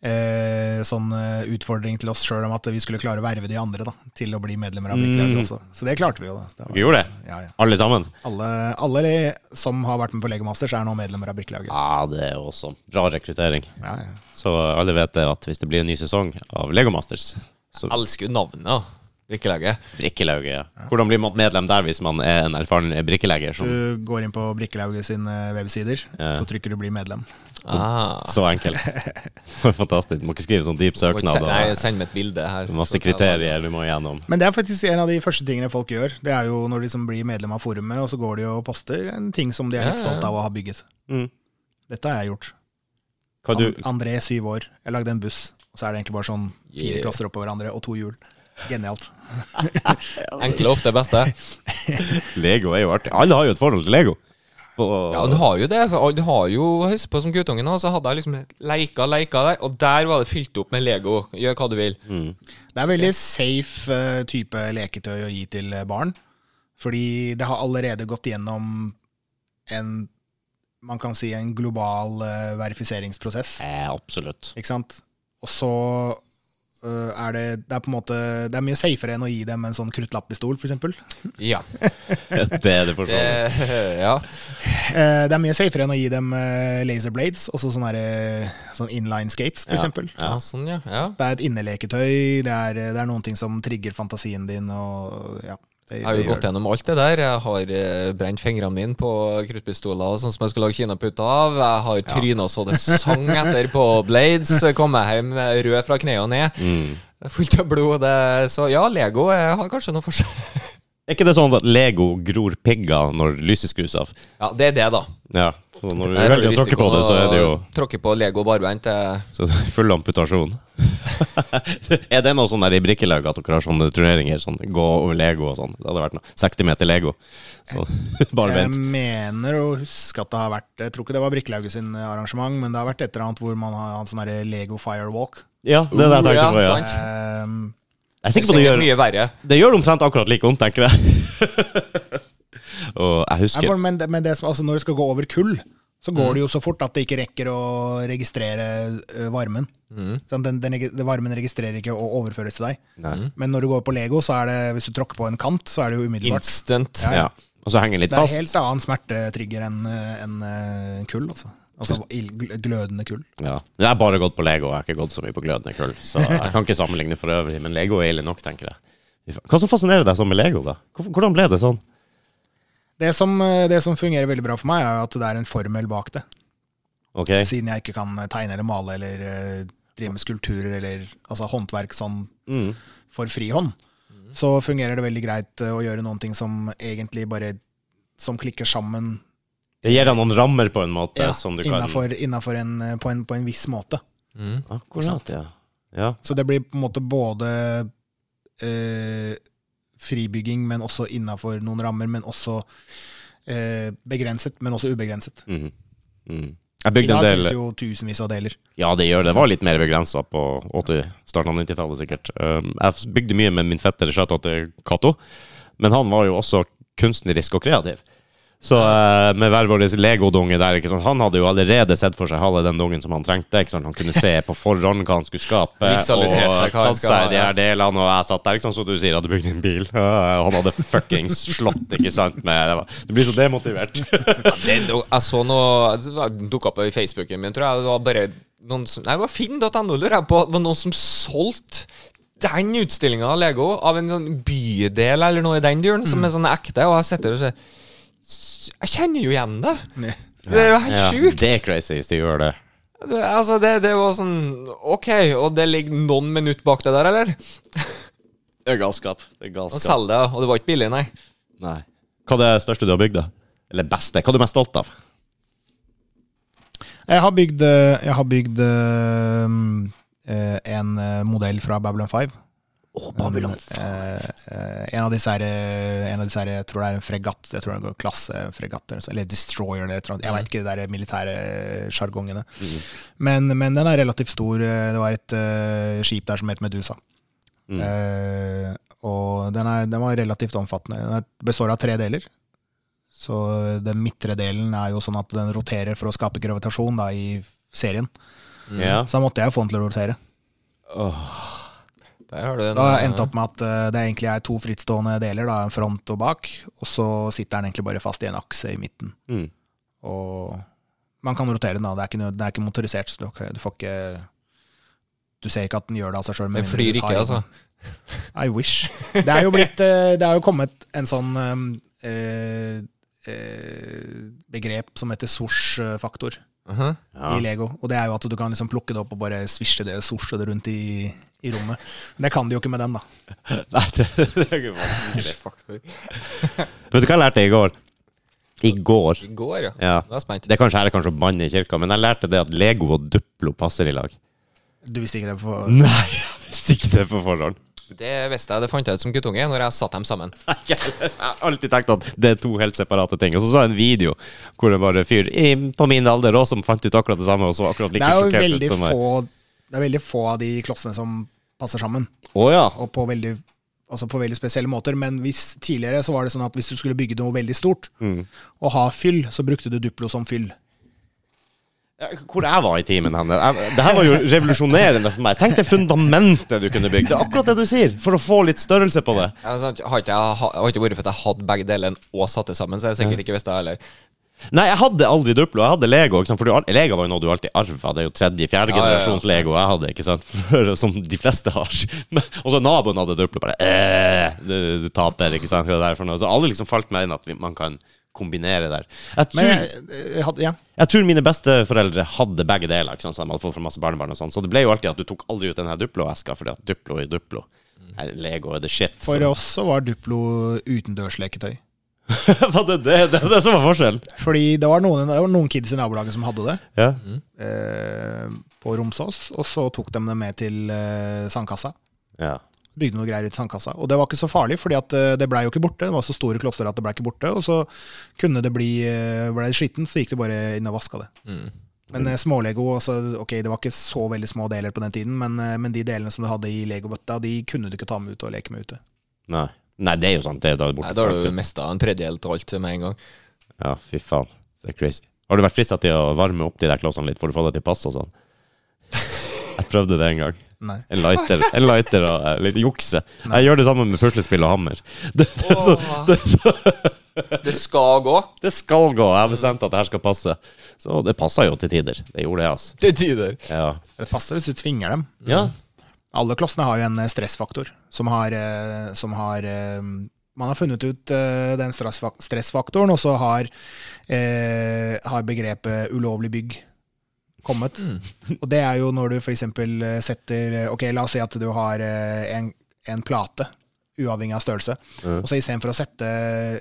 S5: eh, Sånn eh, utfordring til oss sjøl om at vi skulle klare å verve de andre da, til å bli medlemmer av Brikkelauget
S3: Mm.
S5: også. Så det klarte vi jo. da. Det
S3: Dere gjorde det?
S5: ja, ja.
S3: Alle sammen?
S5: Alle, alle som har vært med på Legomasters, er nå medlemmer av Brikkelaget.
S3: Ja, Ah, det er awesome. Bra rekruttering.
S5: Ja, ja.
S3: Så alle vet det at hvis det blir en ny sesong av Lego Masters, så
S4: Jeg elsker jo navnet, da. Drikkelaget.
S3: brikkelauget. Ja. Hvordan blir man medlem der hvis man er en erfaren brikkelegger? Som,
S5: Du går inn på Brikkelauget sine websider,
S3: Ja.
S5: så trykker du 'bli medlem'.
S4: Ah.
S3: så enkelt. Fantastisk. Du må ikke skrive sånn dyp søknad
S4: Nei,
S3: og
S4: send meg et bilde her.
S3: masse kriterier du må igjennom.
S5: Men det er faktisk en av de første tingene folk gjør. Det er jo når de som blir medlem av forumet, og så går de og poster en ting som de er
S4: Ja,
S5: litt
S4: ja, ja.
S5: stolte av å ha bygget.
S3: Mm.
S5: Dette har jeg gjort.
S3: Hva du,
S5: An- André, syv år. Jeg lagde en buss. Og så er det egentlig bare sånn fire
S4: Yeah.
S5: klosser oppå hverandre og to hjul. Genialt.
S4: Enkle er ofte best, det.
S3: Lego er jo artig. Alle har jo et forhold til Lego. og
S4: Ja, du har jo det. For du har jo jeg husker på som guttungen òg, så hadde jeg liksom leika, leika der, og der var det fylt opp med Lego. Gjør hva du vil.
S3: Mm.
S5: Det er veldig safe eh, type leketøy å gi til eh, barn. Fordi det har allerede gått gjennom en man kan si en global eh, verifiseringsprosess.
S3: eh, Absolutt.
S5: Ikke sant? Og så øh, er det Det er på en måte Det er mye safere enn å gi dem en sånn kruttlappistol, for eksempel.
S4: Ja.
S3: Det er det for så
S4: Det,
S3: vidt.
S4: ja.
S5: Eh, Det er mye safere enn å gi dem eh, laserblades, altså sånne, der, eh, sånn inline skates, for
S3: Ja.
S5: eksempel.
S4: ja, sånn, ja. ja.
S5: Det er et inneleketøy, det er, det er noen ting som trigger fantasien din, og ja. Det,
S4: Jeg har
S5: det
S4: jo
S5: gjør
S4: gått gjennom alt det der. Jeg har eh, brent fingrene mine på kruttpistoler og sånn som jeg skulle lage kinaputter av. Jeg har tryna så det sang etter på Blades. Jeg Kom meg hjem eh, rød fra kne og ned.
S3: Mm.
S4: Fullt av blod. Det. Så ja, Lego eh, har kanskje noe for seg.
S3: Er ikke det sånn at Lego gror pigger når lyset skrus av?
S4: Ja, det er det, da.
S3: Ja. Så når du
S4: Der har du
S3: velger å tråkke på
S4: risikoen
S3: det, så er det jo
S4: å Tråkke på Lego barbent. eh.
S3: så det er full amputasjon. er det noe sånn der i brikkelaget at dere har sånne turneringer? Sånn gå over Lego og sånn? Det hadde vært noe. 60 meter Lego. Så, bare
S5: Jeg
S3: vent.
S5: mener å huske at det har vært Jeg tror ikke det var Brikkelauget sin arrangement, men det har vært et eller annet hvor man har hatt sånn der Lego Firewalk.
S3: Ja, det er det jeg
S4: Uh,
S3: tenkte på. Ja.
S4: sant.
S5: Ehm,
S3: Jeg er sikker på det
S4: Sikkert
S3: gjør
S4: mye verre.
S3: Det gjør det omtrent akkurat like vondt, tenker jeg. og jeg
S5: Nei,
S3: husker
S5: for, men det, men det, som- altså, når det skal gå over kull, så går det jo så fort at det ikke rekker å registrere ø, varmen. Sånn, den, den, regi- den varmen registrerer ikke og overføres til deg.
S3: Nei.
S5: Men når du går på Lego, så er det, hvis du tråkker på en kant, så er det jo umiddelbart.
S4: Instant.
S3: Ja. Og så henger den litt
S5: Det er
S3: fast.
S5: helt annen smertetrigger enn ø, enn, ø, kull, altså. Altså ild- gl- glødende kull.
S3: Ja. Jeg har bare gått på Lego, jeg har ikke gått så mye på glødende kull. Så jeg kan ikke sammenligne for øvrig, men Lego er ille nok, tenker jeg. Hva som fascinerer deg sånn med Lego, da? Hvor- Hvordan ble det sånn?
S5: Det som, ø, det som fungerer veldig bra for meg, er jo at det er en formel bak det.
S3: Ok,
S5: Siden jeg ikke kan eh, tegne eller male eller ø, drive med skulpturer eller altså håndverk sånn
S3: mm.
S5: for frihånd, så fungerer det veldig greit eh, å gjøre noen ting som egentlig bare som klikker sammen
S3: Det gir deg noen rammer, på en måte,
S5: ja,
S3: som sånn du kan
S5: innafor, innafor en, eh, på, en, på en viss måte.
S4: Mm.
S3: Akkurat, ja. ja.
S5: Så det blir på en måte både eh, fribygging, men også innafor noen rammer, men også eh, begrenset, men også ubegrenset.
S3: Mhm. Mm. Jeg
S5: I
S3: bygde en
S5: dag
S3: del
S5: finnes det jo tusenvis av deler.
S3: Ja, det gjør det. Det var litt mer begrensa på 80, starten av 90-tallet, sikkert. Um, Jeg bygde mye med min fetter skjøtete Cato, men han var jo også kunstnerisk og kreativ. Så eh, med hver vår legodunge der, ikke sant? han hadde jo allerede sett for seg halve den dungen som han trengte. Ikke sant? Han kunne se på forhånd hva han skulle skape, og
S4: Visualisert seg hva han
S3: tatt
S4: skal ha,
S3: seg de
S4: ja.
S3: her delene, og jeg satt der, ikke sant, som du sier, hadde bygd en bil. Ja, Han hadde fuckings slått, ikke sant, med det var- Du blir så demotivert.
S4: Det, jeg så noe Det dukka opp i Facebooken min, tror jeg. Det var bare noen som Nei, det var finn.no, lurer jeg på. Det var noen som solgte den utstillinga av Lego av en sånn bydel eller noe i den duren,
S3: Mm.
S4: som er sånn ekte, og jeg sitter og ser Jeg kjenner jo igjen det! Det er jo helt
S3: Ja,
S4: sjukt!
S3: Det er crazy hvis de gjør det.
S4: Det, altså, det, det var sånn OK, og det ligger noen minutter bak det der, eller?
S3: Det er galskap. Det er
S4: Og
S3: galskap.
S4: selger det, og det var ikke billig, nei.
S3: Nei. Hva er det største du har bygd, da? Eller beste? Hva er du mest stolt av?
S5: Jeg har bygd, eh, jeg har bygd eh, eh, en eh, modell fra Babylon 5.
S3: Babylon.
S5: Eh, eh, en av disse her, eh, en av disse her, jeg tror det er en fregatt, jeg tror det går klassefregatt, eller, så- eller destroyer, eller et eller annet. jeg vet ikke de der militære sjargongene. Men, men den er relativt stor, eh, det var et eh, skip der som het Medusa.
S3: Mm.
S4: Mm.
S5: Eh, og den, er, den var relativt omfattende, den er- består av tre deler. Så den midtre delen er jo sånn at den roterer for å skape gravitasjon da, i serien.
S3: Ja.
S5: Så da måtte jeg jo få den til å rotere.
S4: Der har du en
S5: Da har jeg endt opp med at eh, det egentlig er to frittstående deler, da, en front og bak, og så sitter den egentlig bare fast i en akse i midten.
S3: Mm.
S5: Og man kan rotere den, da. Det er ikke, noe- det er ikke motorisert, så du, kan- du får ikke Du ser ikke at den gjør det av seg sjøl.
S4: Den flyr ikke, altså.
S5: I wish. Det er jo blitt eh, Det er jo kommet en sånn eh, eh, begrep som heter source-faktor
S4: Mhm.
S3: Ja.
S5: i Lego. Og det er jo at du kan liksom plukke det opp og bare svisje det, source det rundt i, i rommet. Men det kan du jo ikke med den, da.
S3: Nei, det, det er ikke vanskelig. Vet du hva jeg lærte i går? I går.
S4: I går, ja.
S3: Ja.
S4: Nå er jeg spent.
S3: Det er kanskje her jeg kanskje banner i kirka, men jeg lærte det at Lego og Duplo passer i lag.
S5: Du visste ikke det? For,
S3: Nei, jeg visste ikke det på forhånd.
S4: Det visste jeg, det fant jeg ut som guttunge når jeg satte dem sammen.
S3: Jeg har alltid tenkt at det er to helt separate ting. Og så så jeg en video hvor det var en fyr i, på min alder også som fant ut akkurat det samme og så akkurat
S5: Det
S3: like
S5: er jo
S3: sjokkert
S5: veldig
S3: ut som meg.
S5: få Det er veldig få av de klossene som passer sammen,
S3: Å ja.
S5: og på veldig, altså på veldig spesielle måter. Men hvis, tidligere så var det sånn at hvis du skulle bygge noe veldig stort,
S3: Mm.
S5: og ha fyll, så brukte du Duplo som fyll.
S3: Hvor jeg var i timen henne. Jeg, det her var jo revolusjonerende for meg. Tenk det fundamentet du kunne bygd. Det er akkurat det du sier, for å få litt størrelse på det.
S4: Jeg, har ikke- har ikke, jeg ha- har ikke vært for at jeg hadde begge delene og satt det sammen, så jeg sikkert ikke visste det heller.
S3: Nei, jeg hadde aldri Duplo. Jeg hadde Lego. Ikke sant? For du, al- Lego var jo noe du alltid arva. Det er jo tredje-fjerde
S4: Ja, ja, ja.
S3: generasjons Lego jeg hadde, ikke sant? For, som de fleste har. Men- Og så naboen hadde Duplo. Bare eh, du, du taper, ikke sant. Hva er det der for noe? Så alle liksom falt meg inn at vi, man kan kombinere der. Jeg tror,
S5: Men
S3: jeg,
S5: jeg, eh, jeg hadde, ja.
S3: tror mine besteforeldre hadde begge deler, ikke sant? så de hadde fått fra masse barnebarn og sånn. Så det ble jo alltid at du tok aldri ut den her Duplo-eska, fordi at Duplo er Duplo. Nei, Lego er the shit.
S5: For
S3: så-
S5: oss så var Duplo utendørsleketøy.
S3: Var det det, det, det som var forskjellen?
S5: Fordi det var noen, det var noen kids i nabolaget som hadde det
S3: Ja.
S5: eh, på Romsås, og så tok de det med til eh, sandkassa.
S3: ja.
S5: Bygde noe greier ut i sandkassa. Og det var ikke så farlig, fordi at eh, det blei jo ikke borte. Det var så store klosser at det blei ikke borte. Og så kunne det bli eh, ble det skitten, så gikk det bare inn og vaska det.
S4: Mm.
S5: Men eh, smålego altså, Ok, det var ikke så veldig små deler på den tiden, men, eh, men de delene som du hadde i legobøtta, de kunne du ikke ta med ut og leke med ute.
S3: Nei. Nei, det er jo sant. Det er da borte.
S4: Nei, Da har du mista en tredjedel av alt med en gang.
S3: Ja, fy faen. Det er crazy. Har du vært frista til å varme opp de der klossene litt for å få det til å passe og sånn? Jeg prøvde det en gang.
S5: Nei.
S3: En lighter, en lighter og eh, litt jukse. Jeg gjør det samme med puslespill og hammer. Det, det, er så, det, er så,
S4: Det skal gå.
S3: det skal gå. Jeg har bestemt at det her skal passe. Så det passa jo til tider. Det gjorde det, altså.
S4: Til tider.
S3: Ja.
S5: Det passer hvis du tvinger dem.
S3: ja.
S5: Alle klossene har jo en eh, stressfaktor som har, eh, som har eh, Man har funnet ut eh, den stressfak- stressfaktoren, og så har, eh, har begrepet ulovlig bygg kommet.
S3: Mm.
S5: Og det er jo når du f.eks. setter eh, Ok, la oss si at du har eh, en, en plate, uavhengig av størrelse.
S3: Mm.
S5: Og så istedenfor å sette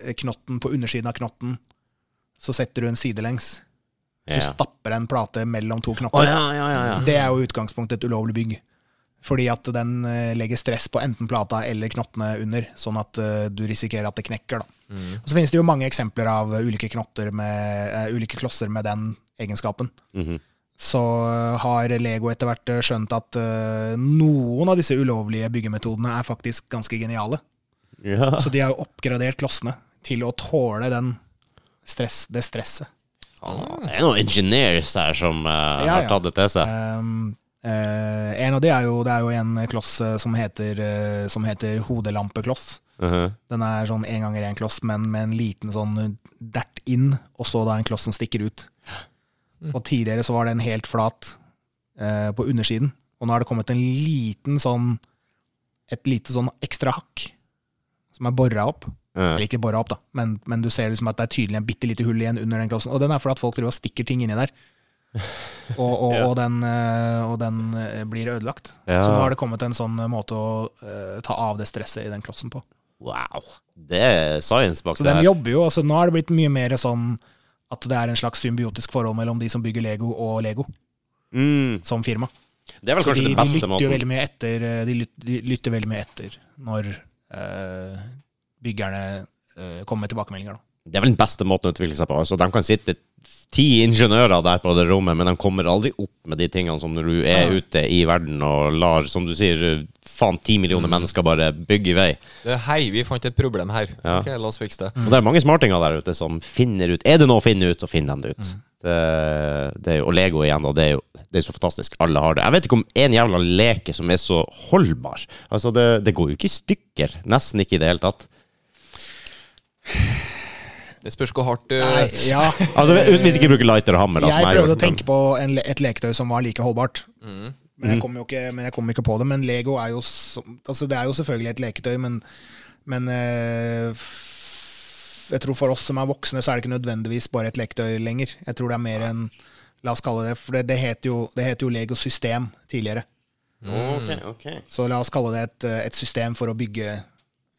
S5: eh, knotten på undersiden av knotten, så setter du en sidelengs. Så
S3: Ja.
S5: stapper en plate mellom to knotter.
S3: Å, ja, ja, ja, ja.
S5: Det er jo i utgangspunktet et ulovlig bygg. Fordi at den eh, legger stress på enten plata eller knottene under, sånn at eh, du risikerer at det knekker. Da.
S4: Mm.
S5: Og så finnes det jo mange eksempler av eh, ulike, knotter med, eh, ulike klosser med den egenskapen.
S3: Mhm.
S5: Så eh, har Lego etter hvert eh, skjønt at eh, noen av disse ulovlige byggemetodene er faktisk ganske geniale.
S3: ja.
S5: Så de har jo oppgradert klossene til å tåle den stress, det stresset.
S3: Det er noen engineers her som eh,
S5: Ja,
S3: har
S5: ja.
S3: tatt det til seg.
S5: Um, eh, en av de er jo, det er jo en kloss eh, som heter, eh, som heter hodelampekloss.
S3: Mhm.
S5: Den er sånn én ganger én kloss, men med en liten sånn dert inn, og så da en kloss som stikker ut. Og tidligere så var den helt flat eh, på undersiden, og nå har det kommet en liten sånn et lite sånn ekstra hakk som er bora opp.
S3: Ja.
S5: Eller ikke bora opp, da, men, men du ser liksom at det er tydelig en bitte lite hull igjen under den klossen. Og den er fordi at folk driver og stikker ting inni der. Og, og, og, den, eh, og den eh, blir ødelagt.
S3: Ja.
S5: Så nå har det kommet en sånn eh, måte å eh, ta av det stresset i den klossen på.
S3: Wow. Det er science bak
S5: Så
S3: det
S5: de
S3: her.
S5: jobber jo, altså nå er det blitt mye mer sånn at det er en slags symbiotisk forhold mellom de som bygger Lego og Lego
S3: Mm.
S5: som firma.
S3: Det er vel
S5: Så
S3: kanskje
S5: de,
S3: den
S5: de
S3: beste
S5: lytter jo
S3: måten.
S5: veldig mye etter, eh, de lyt- de lytter veldig mye etter når eh, byggerne eh, kommer med tilbakemeldinger. Da.
S3: Det er vel den beste måten å utvikle seg på. Altså, de kan sitte ti ingeniører der på det rommet, men de kommer aldri opp med de tingene som når du er ute i verden og lar, som du sier, faen ti millioner
S5: Mm.
S3: mennesker bare bygge i vei.
S4: Du, hei, vi fant et problem her.
S3: Ja. Mm.
S4: Ok, la oss fikse det.
S3: Og det er mange smartinger der ute som finner ut Er det noe å finne ut, så finner de det
S5: Mm.
S3: ut. Det, det er jo, og Lego igjen, og det er jo det er så fantastisk. Alle har det. Jeg vet ikke om en jævla leke som er så holdbar. Altså, det, det går jo ikke i stykker. Nesten ikke i det hele tatt.
S4: Det spørs hvor hardt du
S5: Nei, ja.
S3: Altså, hvis ikke bruker lighter og hammer, da. som
S5: Jeg
S3: gjør,
S5: prøvde å
S3: men-
S5: tenke på en, le- et leketøy som var like holdbart. Men jeg kom jo ikke, men jeg kom ikke på det. Men Lego er jo så, altså Det er jo selvfølgelig et leketøy, men, men eh, f- Jeg tror for oss som er voksne, så er det ikke nødvendigvis bare et leketøy lenger. Jeg tror det er mer en La oss kalle det For det, det het jo, det het jo Lego system tidligere.
S3: Mm. Ok, ok.
S5: Så la oss kalle det et, eh, et system for å bygge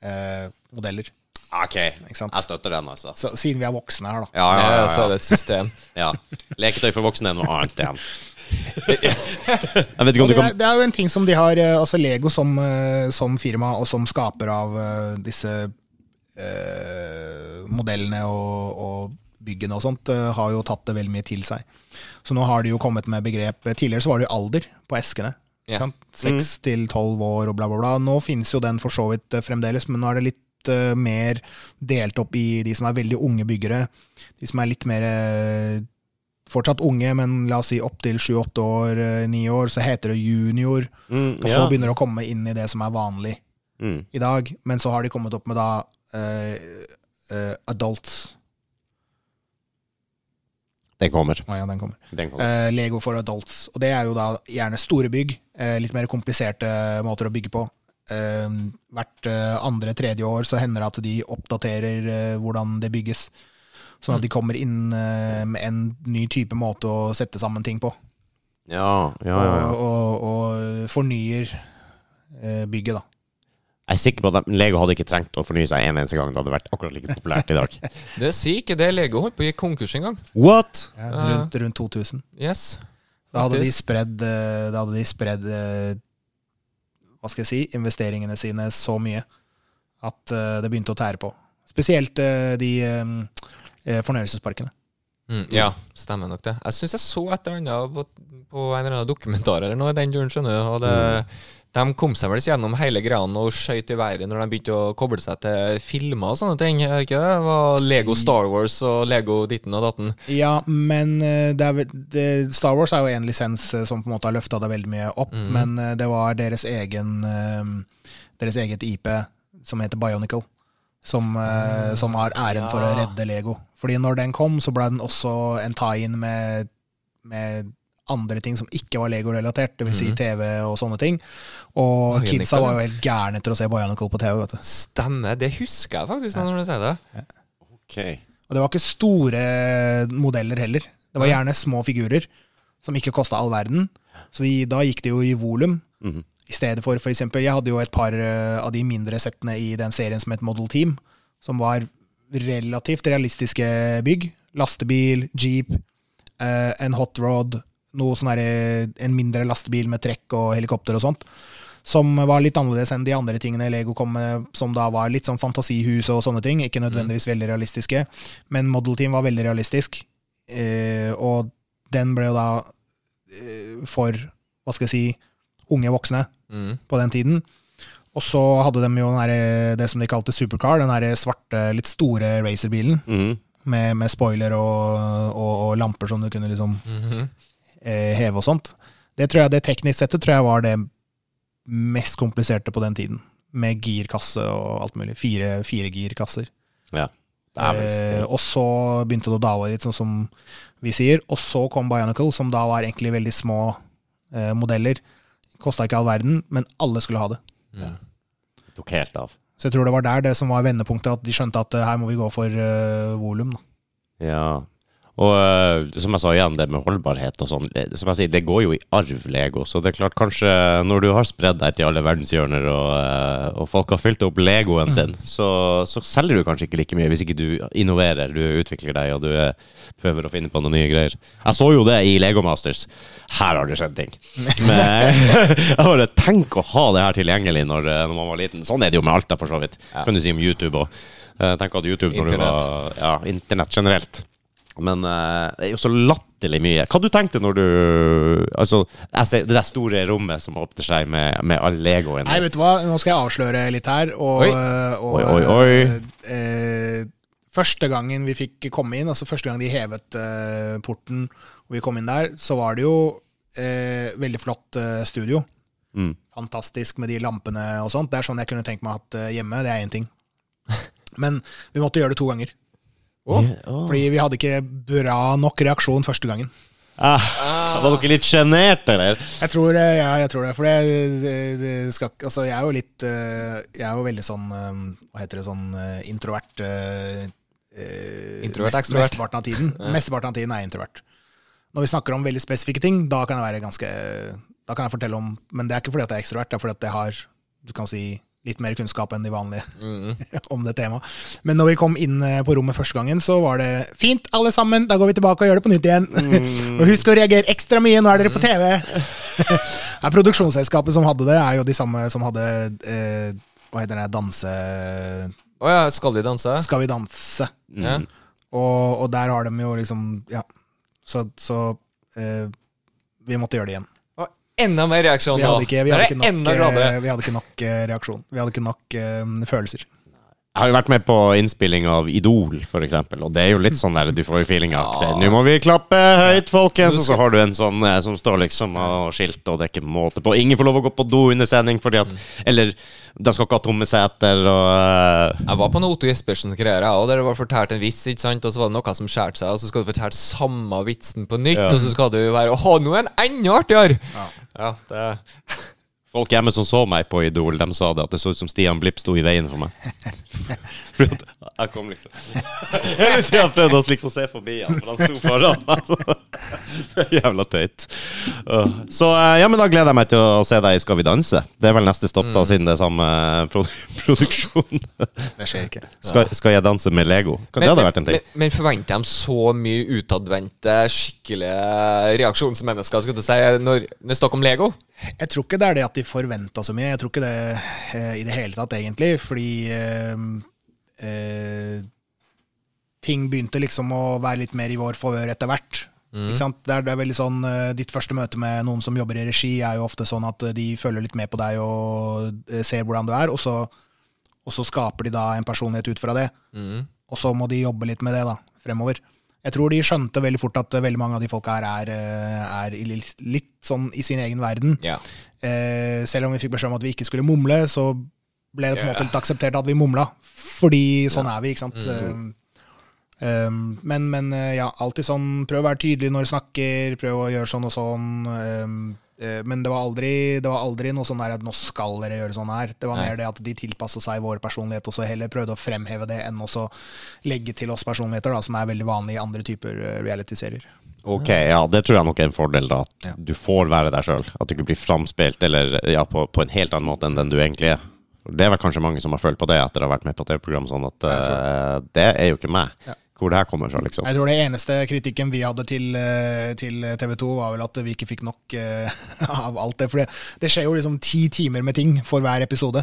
S5: eh, modeller.
S3: Ok,
S5: Ikke sant?
S3: jeg støtter den, altså.
S5: Så, siden vi er voksne her, da.
S3: Ja,
S4: Ja,
S3: ja,
S4: ja, så
S3: ja,
S4: er det et system.
S3: ja. Leketøy for voksne er noe annet igjen. Jeg vet ikke om du
S5: Det
S3: kan
S5: er, det er jo en ting som de har eh, Altså Lego som, eh, som firma og som skaper av eh, disse eh, modellene og, og byggene og sånt, eh, har jo tatt det veldig mye til seg. Så nå har de jo kommet med begrep Tidligere så var det jo alder på eskene.
S4: Ja.
S5: sant? Seks
S3: Mm.
S5: til tolv år og bla, bla, bla. Nå finnes jo den for så vidt eh, fremdeles, men nå er det litt eh, mer delt opp i de som er veldig unge byggere. De som er litt mer eh, fortsatt unge, men la oss si opptil sju-åtte år, eh, ni år, så heter det junior.
S3: mm,
S5: Og så begynner det å komme inn i det som er vanlig
S3: mm.
S5: i dag. Men så har de kommet opp med da eh, eh, adults.
S3: Den kommer.
S5: Å ja, den kommer.
S3: Den kommer.
S5: Eh, Lego for adults. Og det er jo da gjerne store bygg. eh, litt mer kompliserte måter å bygge på. Eh, hvert eh, andre-tredje år så hender det at de oppdaterer eh, hvordan det bygges. Sånn at de kommer inn eh, med en ny type måte å sette sammen ting på. Eh.
S3: Ja, ja, ja. ja.
S5: og, og, og fornyer eh, bygget, da.
S3: Jeg er sikker på at de- Lego hadde ikke trengt å fornye seg en eneste gang. Det hadde vært akkurat like populært i dag.
S4: Du sier ikke det Lego holdt på å gi konkurs en gang.
S3: What?
S5: rundt, rundt 2000.
S4: Yes.
S5: Da hadde de
S4: Faktisk.
S5: spredd, eh, da hadde de spredd eh, hva skal jeg si, investeringene sine så mye at eh, det begynte å tære på. Spesielt eh, de eh, fornøyelsesparkene.
S4: Mm, ja, stemmer nok det. Jeg syns jeg så et eller annet på, på en eller annen dokumentar eller noe i den duren, skjønner du. Og det,
S5: Mm.
S4: De kom seg vel ikke gjennom hele greia og skøyt i været når de begynte å koble seg til filmer og sånne ting. Er det Ikke det? det var Lego
S5: Mm.
S4: Star Wars og Lego ditten og datten.
S5: Ja, men eh, det er, vel- det, Star Wars er jo en lisens eh, som på en måte har løfta det veldig mye opp, men eh, det var deres egen eh, deres eget IP som heter Bionicle, som, eh, som har æren for å
S4: Ja.
S5: redde Lego. Fordi når den kom, så ble den også en tie-in med, med andre ting som ikke var Lego-relatert, dvs. Si TV og sånne ting. Og
S4: Bionicle,
S5: kidsa var jo helt gærne etter å se Bionicle på TV, vet du.
S4: Stemmer, det husker jeg faktisk nå når du sier det.
S3: Ok.
S5: Og det var ikke store modeller heller. Det var gjerne små figurer som ikke kosta all verden. Så de, da gikk det jo i volum.
S3: Mhm.
S5: I stedet for f.eks. Jeg hadde jo et par eh, av de mindre settene i den serien som het Model Team, som var relativt realistiske bygg. Lastebil, jeep, eh, en hot rod, noe sånn herre- en mindre lastebil med trekk og helikopter og sånt. Som var litt annerledes enn de andre tingene Lego kom med, som da var litt sånn fantasihus og sånne ting. Ikke nødvendigvis veldig realistiske, men Model Team var veldig realistisk. Eh, og den ble jo da eh, for, hva skal jeg si, unge voksne
S4: Mm.
S5: på den tiden. Og så hadde de jo den her, det som de kalte supercar, den her svarte, litt store racerbilen
S3: Mhm.
S5: med, med spoiler og, og, og lamper som du kunne liksom
S4: Mhm.
S5: eh, heve og sånt. Det tror jeg det teknisk sett tror jeg var det mest kompliserte på den tiden. Med girkasse og alt mulig. Fire, fire girkasser.
S3: Ja. Det er vel
S5: Eh,
S3: steg.
S5: og så begynte det å dale litt, sånn som vi sier. Og så kom Bionicle, som da var egentlig veldig små eh, modeller. Kosta ikke all verden, men alle skulle ha det.
S4: Mm.
S3: Det tok helt av.
S5: Så jeg tror det var der det som var vendepunktet, at de skjønte at eh, her må vi gå for eh, volum. da.
S3: Ja. Og eh, som jeg sa igjen, det med holdbarhet og sånn, det- som jeg sier, det går jo i arv, Lego. Så det er klart, kanskje når du har spredd deg til alle verdenshjørner, og, eh, og folk har fylt opp
S4: Mm.
S3: Legoen sin, så, så selger du kanskje ikke like mye hvis ikke du innoverer, du utvikler deg, og du eh, prøver å finne på noen nye greier. Jeg så jo det i Lego Masters. Her har det skjedd ting. Men jeg bare tenk å ha det her tilgjengelig når, eh, når man var liten. Sånn er det jo med alt, da, for så vidt.
S4: Ja.
S3: Kan du si om YouTube òg. Tenk at YouTube når du
S4: Internett.
S3: var ja, internett generelt. Men eh, det er jo så latterlig mye. Hva du tenkte når du Altså, jeg ser det der store rommet som åpner seg med, med all legoen.
S5: Nei, vet du hva, nå skal jeg avsløre litt her. Og, eh,
S4: Oi.
S5: og,
S3: Oi, oi, oi.
S5: eh, eh, første gangen vi fikk komme inn, altså første gang de hevet eh, porten og vi kom inn der, så var det jo eh, veldig flott eh, studio.
S3: Mm.
S5: Fantastisk med de lampene og sånt. Det er sånn jeg kunne tenkt meg at eh, hjemme, det er én ting. Men vi måtte gjøre det to ganger. Fordi vi hadde ikke bra nok reaksjon første gangen.
S3: Ah, var dere litt sjenert, eller?
S5: Jeg tror, eh, ja, jeg tror det. For jeg, eh, eh, skal, ikke- altså, jeg er jo litt eh, Jeg er jo veldig sånn eh, Hva heter det sånn eh, introvert eh, eh,
S4: Introvert,
S5: mest-
S4: ekstrovert.
S5: Mesteparten av tiden Mesteparten av tiden er jeg introvert. Når vi snakker om veldig spesifikke ting, da kan jeg være ganske Da kan jeg fortelle om Men det er ikke fordi at jeg er ekstrovert, det er fordi at jeg har Du kan si litt mer kunnskap enn de vanlige
S4: Mm.
S5: om det temaet. Men når vi kom inn eh, på rommet første gangen, så var det fint, alle sammen, da går vi tilbake og gjør det på nytt igjen.
S4: Mm.
S5: og husk å reagere ekstra mye, nå er dere på TV. ja, produksjonsselskapet som hadde det, er jo de samme som hadde eh, Hva heter det, danse...
S4: Å ja, skal vi danse?
S5: Skal vi danse?
S4: Ja.
S5: Og, og der har de jo liksom Ja. Så, så eh, vi måtte gjøre det igjen.
S4: Og enda mer reaksjon
S5: Vi
S4: nå!
S5: hadde ikke, vi
S4: Der
S5: hadde
S4: er
S5: ikke,
S4: jeg
S5: nok,
S4: enda
S5: eh,
S4: gladere.
S5: vi hadde ikke nok eh, reaksjon. Vi hadde ikke nok eh, følelser.
S3: Jeg har jo vært med på innspilling av Idol, for eksempel, og det er jo litt sånn der du får jo feelinga. Nå må vi klappe høyt, folkens! Og så har du en sånn eh, som står liksom og skilt, og det er ikke måte på. Ingen får lov å gå på do under sending, fordi at Eller, de skal ikke ha tomme seter, og eh,
S4: Jeg var på noe Otto Jespersen-greier, jeg òg, der det var fortalt en vits, ikke sant, og så var det noe som skjærte seg, og så skal du fortelle samme vitsen på nytt,
S3: Ja.
S4: og så skal du være Å, nå er den enda artigere! Ja. det
S3: Folk hjemme som så meg på Idol, de sa det at det så ut som Stian Blipp sto i veien for meg. For at jeg kom liksom Hele tida prøvde å liksom se forbi han, for han sto foran meg. Så. Jævla tøyt. Åh. Så eh, ja, men da gleder jeg meg til å se deg i Skal vi danse. Det er vel neste stopp,
S4: Mm.
S3: da, siden det er samme pro produksjon.
S5: Det skjer ikke.
S3: Skal, skal jeg danse med Lego? Kan det hadde vært en ting?
S4: Men, men forventer de så mye utadvendte, skikkelige reaksjonsmennesker, skal du si, når det er snakk om Lego?
S5: Jeg tror ikke det er det at de forventa så mye. Jeg tror ikke det eh, i det hele tatt, egentlig. Fordi eh, eh, ting begynte liksom å være litt mer i vår favør etter hvert.
S4: Mm.
S5: Ikke sant? Det er, det er veldig sånn eh, Ditt første møte med noen som jobber i regi, er jo ofte sånn at eh, de følger litt med på deg og eh, ser hvordan du er, og så, og så skaper de da en personlighet ut fra det.
S4: Mm.
S5: Og så må de jobbe litt med det da, fremover. Jeg tror de skjønte veldig fort at eh, veldig mange av de folka her er, eh, er i litt, litt sånn i sin egen verden.
S4: Ja.
S5: Eh, selv om vi fikk beskjed om at vi ikke skulle mumle, så ble det på
S4: Ja.
S5: en
S4: Mm.
S5: måte litt akseptert at vi mumla. Fordi sånn er vi, ikke sant. Eh, eh, men, men eh, ja, alltid sånn prøv å være tydelig når du snakker, prøv å gjøre sånn og sånn. eh, eh, men det var, aldri, det var aldri noe sånn der at nå skal dere gjøre sånn her. Det var
S4: Nei.
S5: mer det at de tilpassa seg vår personlighet, og så heller prøvde å fremheve det enn også legge til oss personligheter, da, som er veldig vanlig i andre typer eh, reality-serier.
S3: Ok, ja, det tror jeg nok er en fordel, da. At du får være deg sjøl. At du ikke blir framspilt eller ja, på, på en helt annen måte enn den du egentlig er. For Det er vel kanskje mange som har følt på det etter å ha vært med på TV-program, sånn at eh, det er jo ikke meg. Hvor det her kommer fra, liksom.
S5: Jeg tror det eneste kritikken vi hadde til, eh, til TV 2, var vel at vi ikke fikk nok eh, av alt det. For det, det skjer jo liksom ti timer med ting for hver episode.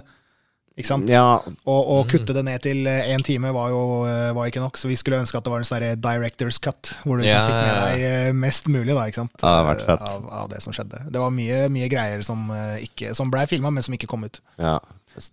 S5: Ikke sant?
S3: Ja,
S5: Og
S4: Mm.
S5: å kutte det ned til én time var jo eh, var ikke nok, så vi skulle ønske at det var en sånn derre director's cut, hvor du liksom
S4: Ja,
S5: fikk med
S4: ja, ja.
S5: deg eh, mest mulig da, ikke sant?
S3: det hadde vært fett.
S5: Av, av det som skjedde. Det var mye, mye greier som, eh, ikke, som blei filma, men som ikke kom ut.
S3: ja.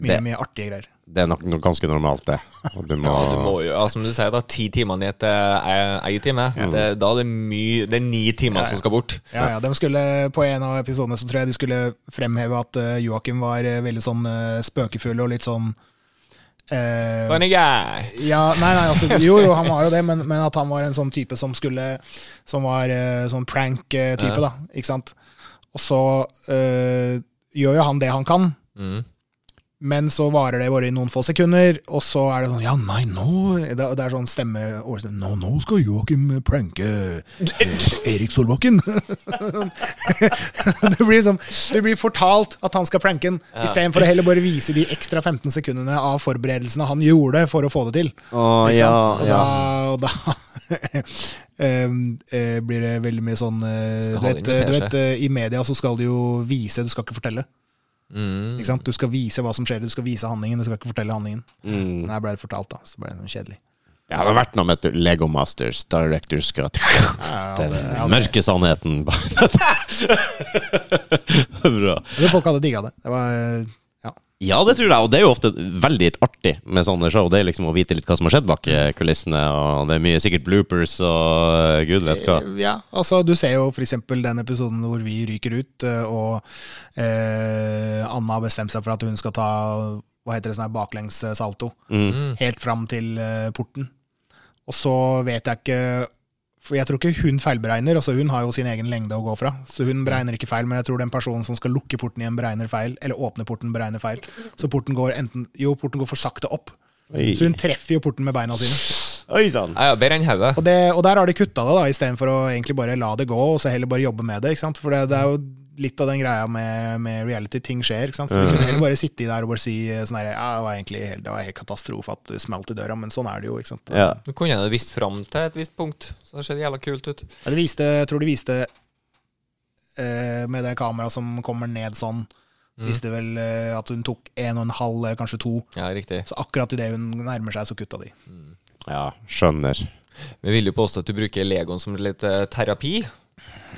S5: Mye,
S3: Det,
S5: mye artige greier.
S3: det er nok noe ganske normalt, det. Og du må,
S4: Ja, du må jo, ja, som du sier, da, ti timer ned til eh, ei time. Det, da er det mye Det er ni timer som skal bort.
S5: Ja, ja, de skulle På en av episodene så tror jeg de skulle fremheve at eh, Joakim var eh, veldig sånn eh, spøkefull og litt sånn eh,
S4: Funny guy!
S5: ja, nei, nei, altså, jo, jo, han var jo det, men, men at han var en sånn type som skulle Som var eh, sånn prank-type, da. Ikke sant? Og så eh, gjør jo han det han kan, men så varer det bare i noen få sekunder, og så er det sånn Ja, nei, nå Det, det er sånn stemme over Nå, nå skal Joakim pranke eh, Erik Solbakken. det, blir liksom, det blir fortalt at han skal pranke han, istedenfor å heller bare vise de ekstra 15 sekundene av forberedelsene han gjorde for å få det til.
S3: Å,
S5: Ikke
S3: ja,
S5: sant? Og
S3: ja.
S5: da, og da em, eh, blir det veldig mye sånn eh,
S4: Skal ha det inn
S5: Du vet,
S4: i
S5: du
S4: teskje.
S5: vet eh, I media så skal du jo vise, du skal ikke fortelle.
S4: Mm.
S5: Ikke sant? Du skal vise hva som skjer, du skal vise handlingen, du skal ikke fortelle handlingen.
S4: Mm.
S5: Men her ble det fortalt, da. Så ble det sånn kjedelig.
S3: Det har vært noe med et Lego Masters Directors Cut. Den mørke sannheten. Bra.
S5: Jeg tror folk hadde digga det. Det var eh, ja.
S3: Ja, det tror jeg, og det er jo ofte veldig artig med sånne show. Det er liksom å vite litt hva som har skjedd bak eh, kulissene, og det er mye sikkert bloopers og eh, gud vet hva.
S5: ja, altså Du ser jo f.eks. den episoden hvor vi ryker ut, eh, og eh, Anna har bestemt seg for at hun skal ta hva heter det, sånn her baklengs eh, salto.
S3: Mm.
S5: Helt fram til eh, porten. Og så vet jeg ikke For jeg tror ikke hun feilberegner. altså Hun har jo sin egen lengde å gå fra, så hun
S3: Mm.
S5: beregner ikke feil. Men jeg tror den personen som skal lukke porten igjen, beregner feil. Eller åpne porten, beregner feil. Så porten går enten Jo, porten går for sakte opp.
S3: Oi,
S5: Så hun treffer jo porten med beina sine.
S3: Oi sann!
S4: Ja, ja, bedre enn hodet.
S5: Og, det, og der har de kutta det, da, istedenfor å egentlig bare la det gå, og så heller bare jobbe med det. ikke sant? For det, det er jo litt av den greia med, med reality, ting skjer. ikke sant? Så vi kunne heller bare sitte i der og bare si eh, sånn her, ja, det var egentlig helt, det var helt katastrofe at det smalt i døra, men sånn er det jo. ikke sant?
S3: Ja.
S4: Nå kunne jeg jo visst fram til et visst punkt, så det ser jævla kult ut.
S5: Ja, det viste, jeg tror de viste eh, med det kameraet som kommer ned sånn, så viste det vel eh, at hun tok en og en halv, eller kanskje to.
S4: Ja, riktig.
S5: Så akkurat idet hun nærmer seg, så kutta de.
S3: ja, skjønner.
S4: Vi vil jo påstå at du bruker Legoen som litt eh, terapi.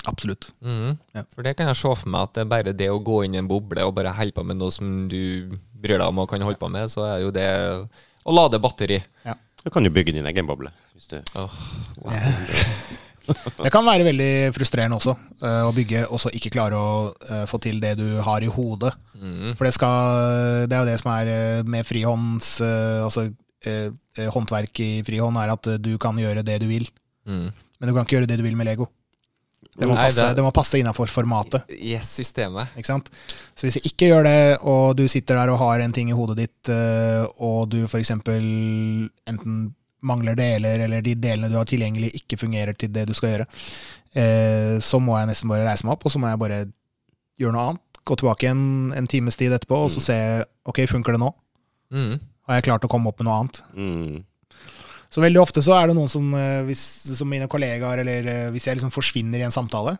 S5: Absolutt. Ja.
S4: Mm. For det kan jeg se for meg at det er bare det å gå inn i en boble og bare holde på med noe som du bryr deg om og kan holde på med, så er jo det å lade batteri.
S3: Du kan jo bygge din egen boble. Hvis du...
S5: Det kan være veldig frustrerende også, eh, å bygge og så ikke klare å eh, få til det du har i hodet.
S4: Mm.
S5: For det, skal, det er jo det som er eh, med frihånds eh, Altså eh, eh, håndverk i frihånd, er at eh, du kan gjøre det du vil.
S4: Mm.
S5: Men du kan ikke gjøre det du vil med Lego. Det må
S4: Nei,
S5: passe,
S4: det-
S5: det må passe innafor formatet.
S4: Yes, systemet.
S5: Ikke sant? Så hvis jeg ikke gjør det, og du sitter der og har en ting i hodet ditt, eh, og du f.eks. enten mangler deler, eller de delene du har tilgjengelig, ikke fungerer til det du skal gjøre, eh, så må jeg nesten bare reise meg opp, og så må jeg bare gjøre noe annet. Gå tilbake en, en times tid etterpå, og så se ok, funker det nå?
S4: Mm.
S5: Har jeg klart å komme opp med noe annet?
S3: Mm.
S5: Så veldig ofte så er det noen som, eh, hvis, som mine kollegaer, eller eh, hvis jeg liksom forsvinner i en samtale,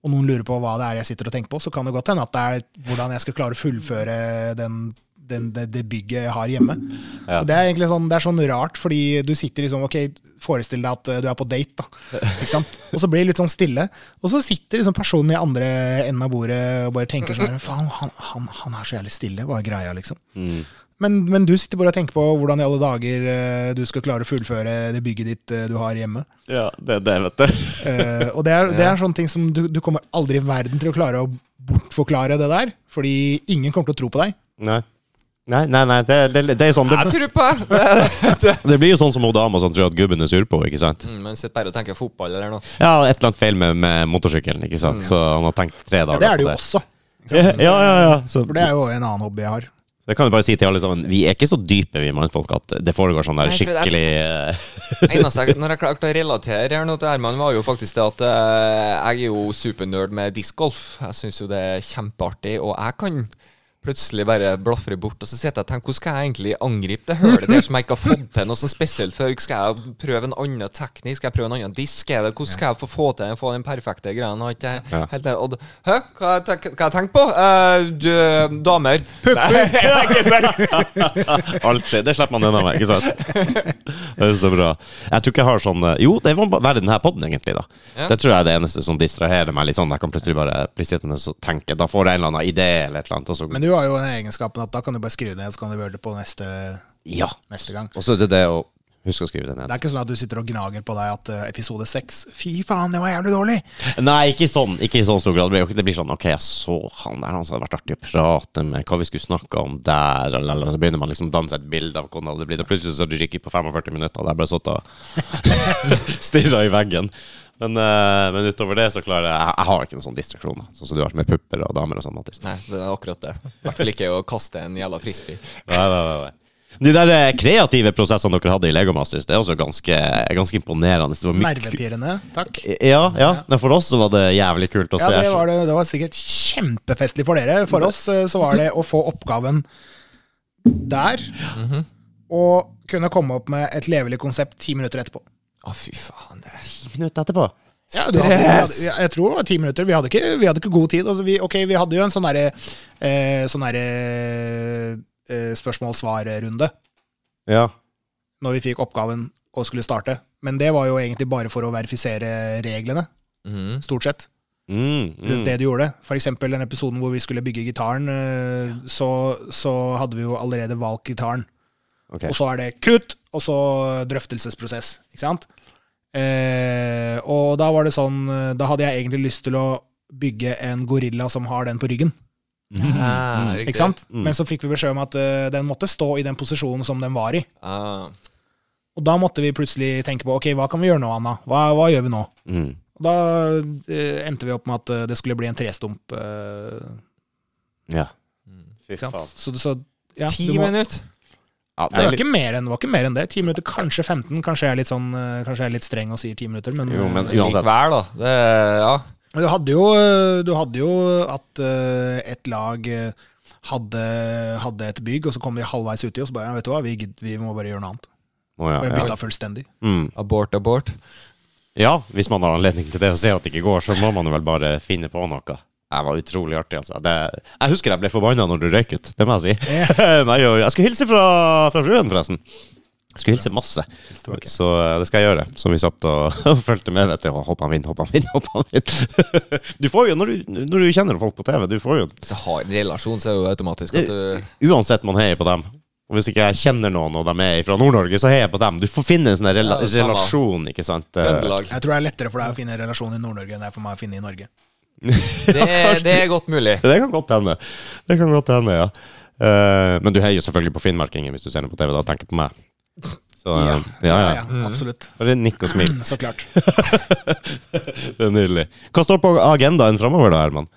S5: og noen lurer på hva det er jeg sitter og tenker på, så kan det godt hende at det er hvordan jeg skal klare å fullføre den, den, det, det bygget jeg har hjemme.
S3: Ja.
S5: Og det er egentlig sånn, det er sånn rart, fordi du sitter liksom, ok, forestill deg at eh, du er på date, da. Ikke sant? Og så blir det litt sånn stille, og så sitter liksom personen i andre enden av bordet og bare tenker sånn, faen, han, han, han er så jævlig stille, hva er greia liksom?
S3: Mm.
S5: Men, men du sitter bare og tenker på hvordan i alle dager eh, du skal klare å fullføre det bygget ditt eh, du har hjemme.
S3: Ja, det er det, vet du.
S5: Eh, og det er, det er sånne ting som du, du kommer aldri i verden til å klare å bortforklare det der, fordi ingen kommer til å tro på deg.
S3: Nei. Nei, nei, nei det, det, det er sånn det,
S4: Jeg tror på det!
S3: det blir jo sånn som hun dama som tror at gubben er sur på, ikke sant?
S4: Mm, Men sitter bare og tenker fotball eller noe.
S3: Ja, et eller annet feil med, med motorsykkelen, ikke sant? Så han har tenkt tre
S5: Ja,
S3: dager
S5: det er det jo
S3: på
S5: også,
S3: Ja, ja, ja. ja. Så,
S5: for det er jo en annen hobby jeg har.
S3: det kan du bare si til alle sammen. Vi er ikke så dype, vi mannfolk, at det foregår sånn der
S4: Nei, for det er-
S3: skikkelig eh,
S4: Eneste jeg, når jeg klarte å relatere her nå til Herman, var jo faktisk det at eh, jeg er jo supernerd med discgolf. Jeg syns jo det er kjempeartig, og jeg kan plutselig bare blafre bort. Og så sitter jeg og tenker, hvordan skal jeg egentlig angripe det hølet der som jeg ikke har fått til noe sånn spesielt før? Skal jeg prøve en annen teknikk? Skal jeg prøve en annen disk? Er det, hvordan skal jeg få, få til få den perfekte greia? Nå har ikke jeg
S3: Ja.
S4: helt det. Og, d- Hæ, hva har jeg tenk- hva har jeg tenkt på? Eh, du, damer. Nei, det er ikke sant.
S3: Alltid. Det slipper man unna med, ikke sant? Det er så bra. Jeg tror ikke jeg har sånn eh, Jo, det må bare være den her podden, egentlig, da.
S4: Ja.
S3: Det tror jeg er det eneste som distraherer meg litt sånn. Jeg kan plutselig bare bli sittende og tenke. Da får jeg en eller annen idé eller et eller annet, og så
S5: Men du har jo den egenskapen at da kan du bare skrive det ned, så kan du gjøre det på neste,
S3: Ja.
S5: neste gang.
S3: Og så er det det å Husk å skrive det
S5: Det
S3: ned.
S5: er ikke sånn at du sitter og gnager på deg at eh, episode seks Fy faen, det var jævlig dårlig!
S3: Nei, ikke sånn. Ikke i sånn stor grad. Det blir jo ikke- Det blir sånn OK, jeg så han der, han som hadde vært artig å prate med, hva vi skulle snakke om der, eller, eller så begynner man liksom å danse et bilde av hvordan det blir, og plutselig så har du rykket på 45 minutter, og jeg bare satt og stirra i veggen. Men, eh, men utover det så klarer jeg Jeg, jeg har ikke noen sånn distraksjon, da, sånn som du har med pupper og damer og sånn, Mattis.
S4: Nei, det er akkurat det. I hvert fall ikke å kaste en jævla frisbee.
S3: Nei, nei, nei, nei. De der eh, kreative prosessene dere hadde i Lego Masters, det er også ganske, ganske imponerende. Det var mye ku-
S5: Nervepirrende. Takk.
S3: ja, ja, men for oss så var det jævlig kult å
S5: Ja,
S3: se.
S5: det var, det, det var sikkert kjempefestlig for dere. For oss eh, så var det å få oppgaven der, og kunne komme opp med et levelig konsept ti minutter etterpå.
S4: Å, fy faen. det er-
S3: minutter etterpå.
S5: Ja, det hadde- vi hadde- ja, jeg tror det var ti minutter. Vi hadde ikke, vi hadde ikke god tid. Altså, vi, ok, vi hadde jo en sånn derre eh, sånn derre eh, spørsmål-svar-runde
S3: Ja.
S5: når vi fikk oppgaven og skulle starte. Men det var jo egentlig bare for å verifisere reglene,
S4: Mhm.
S5: stort sett.
S3: Mm,
S5: rundt
S3: mm.
S5: det du gjorde. For eksempel den episoden hvor vi skulle bygge gitaren, eh, så, så hadde vi jo allerede valgt gitaren.
S3: Ok.
S5: Og så er det kutt, og så drøftelsesprosess, ikke sant? Eh, og da var det sånn, eh, da hadde jeg egentlig lyst til å bygge en gorilla som har den på ryggen,
S4: Ah, riktig.
S5: ikke sant?
S3: Mm.
S5: Men så fikk vi beskjed om at eh, den måtte stå i den posisjonen som den var i.
S4: Ah,
S5: Og da måtte vi plutselig tenke på, ok, hva kan vi gjøre nå, Anna? Hva, hva gjør vi nå?
S3: Mm.
S5: Og da eh, endte vi opp med at eh, det skulle bli en trestump eh,
S3: Ja. Fy
S5: Ikke sant? Så, så ja,
S4: ti
S5: du må,
S4: minutter?
S3: Ja,
S5: det,
S3: det er
S5: var
S3: litt,
S5: ikke mer enn, det var ikke mer enn det. 10 minutter, kanskje 15. Kanskje jeg er litt, sånn, eh, kanskje jeg er litt streng og sier 10 minutter, men,
S3: jo, men
S5: eh,
S3: uansett.
S4: Likevel, da. Det, ja.
S5: Men Du hadde jo, eh, du hadde jo at eh, et lag eh, hadde, hadde et bygg, og så kom de halvveis uti, og så bare ja, vet du hva, vi, gidd- vi må bare gjøre noe annet.
S3: Å, ja,
S5: Bare
S3: ja.
S5: bytta fullstendig.
S3: Mm.
S4: Abort, abort.
S3: ja, hvis man har anledning til det og ser at det ikke går, så må man jo vel bare finne på noe. Det var utrolig artig, altså. Det, jeg husker jeg ble forbanna når du røyk ut, det må jeg si. Nei, og jeg skulle hilse fra, fra fruen, forresten. Jeg skulle hilse masse,
S5: tilbake.
S3: så eh, det skal jeg gjøre. Så vi satt og, og fulgte med. Vet du. Og Håper han vinner, håper han vinner, håper han vinner. Du får jo, når du, når du kjenner folk på TV, du får jo
S4: Hvis jeg har en relasjon, så er det jo automatisk at du
S3: Uansett, man heier på dem. Og hvis ikke jeg kjenner noen og de er fra Nord-Norge, så heier jeg på dem. Du får finne en sånn rela
S4: Ja, samme.
S3: relasjon, ikke sant? Eh,
S4: Trøndelag.
S5: Jeg tror det er lettere for deg å finne en relasjon i Nord-Norge enn det er for meg å finne i Norge.
S4: Det, det er godt mulig.
S3: Det kan godt hende. Det kan godt hende, ja. Eh, men du heier jo selvfølgelig på finnmarkingen hvis du ser den på TV, da tenker på meg. Så, eh, ja, Mm. ja.
S5: Absolutt.
S3: Bare nikk og smil.
S5: Så klart.
S3: Det er nydelig. Hva står på agendaen framover, da, Herman?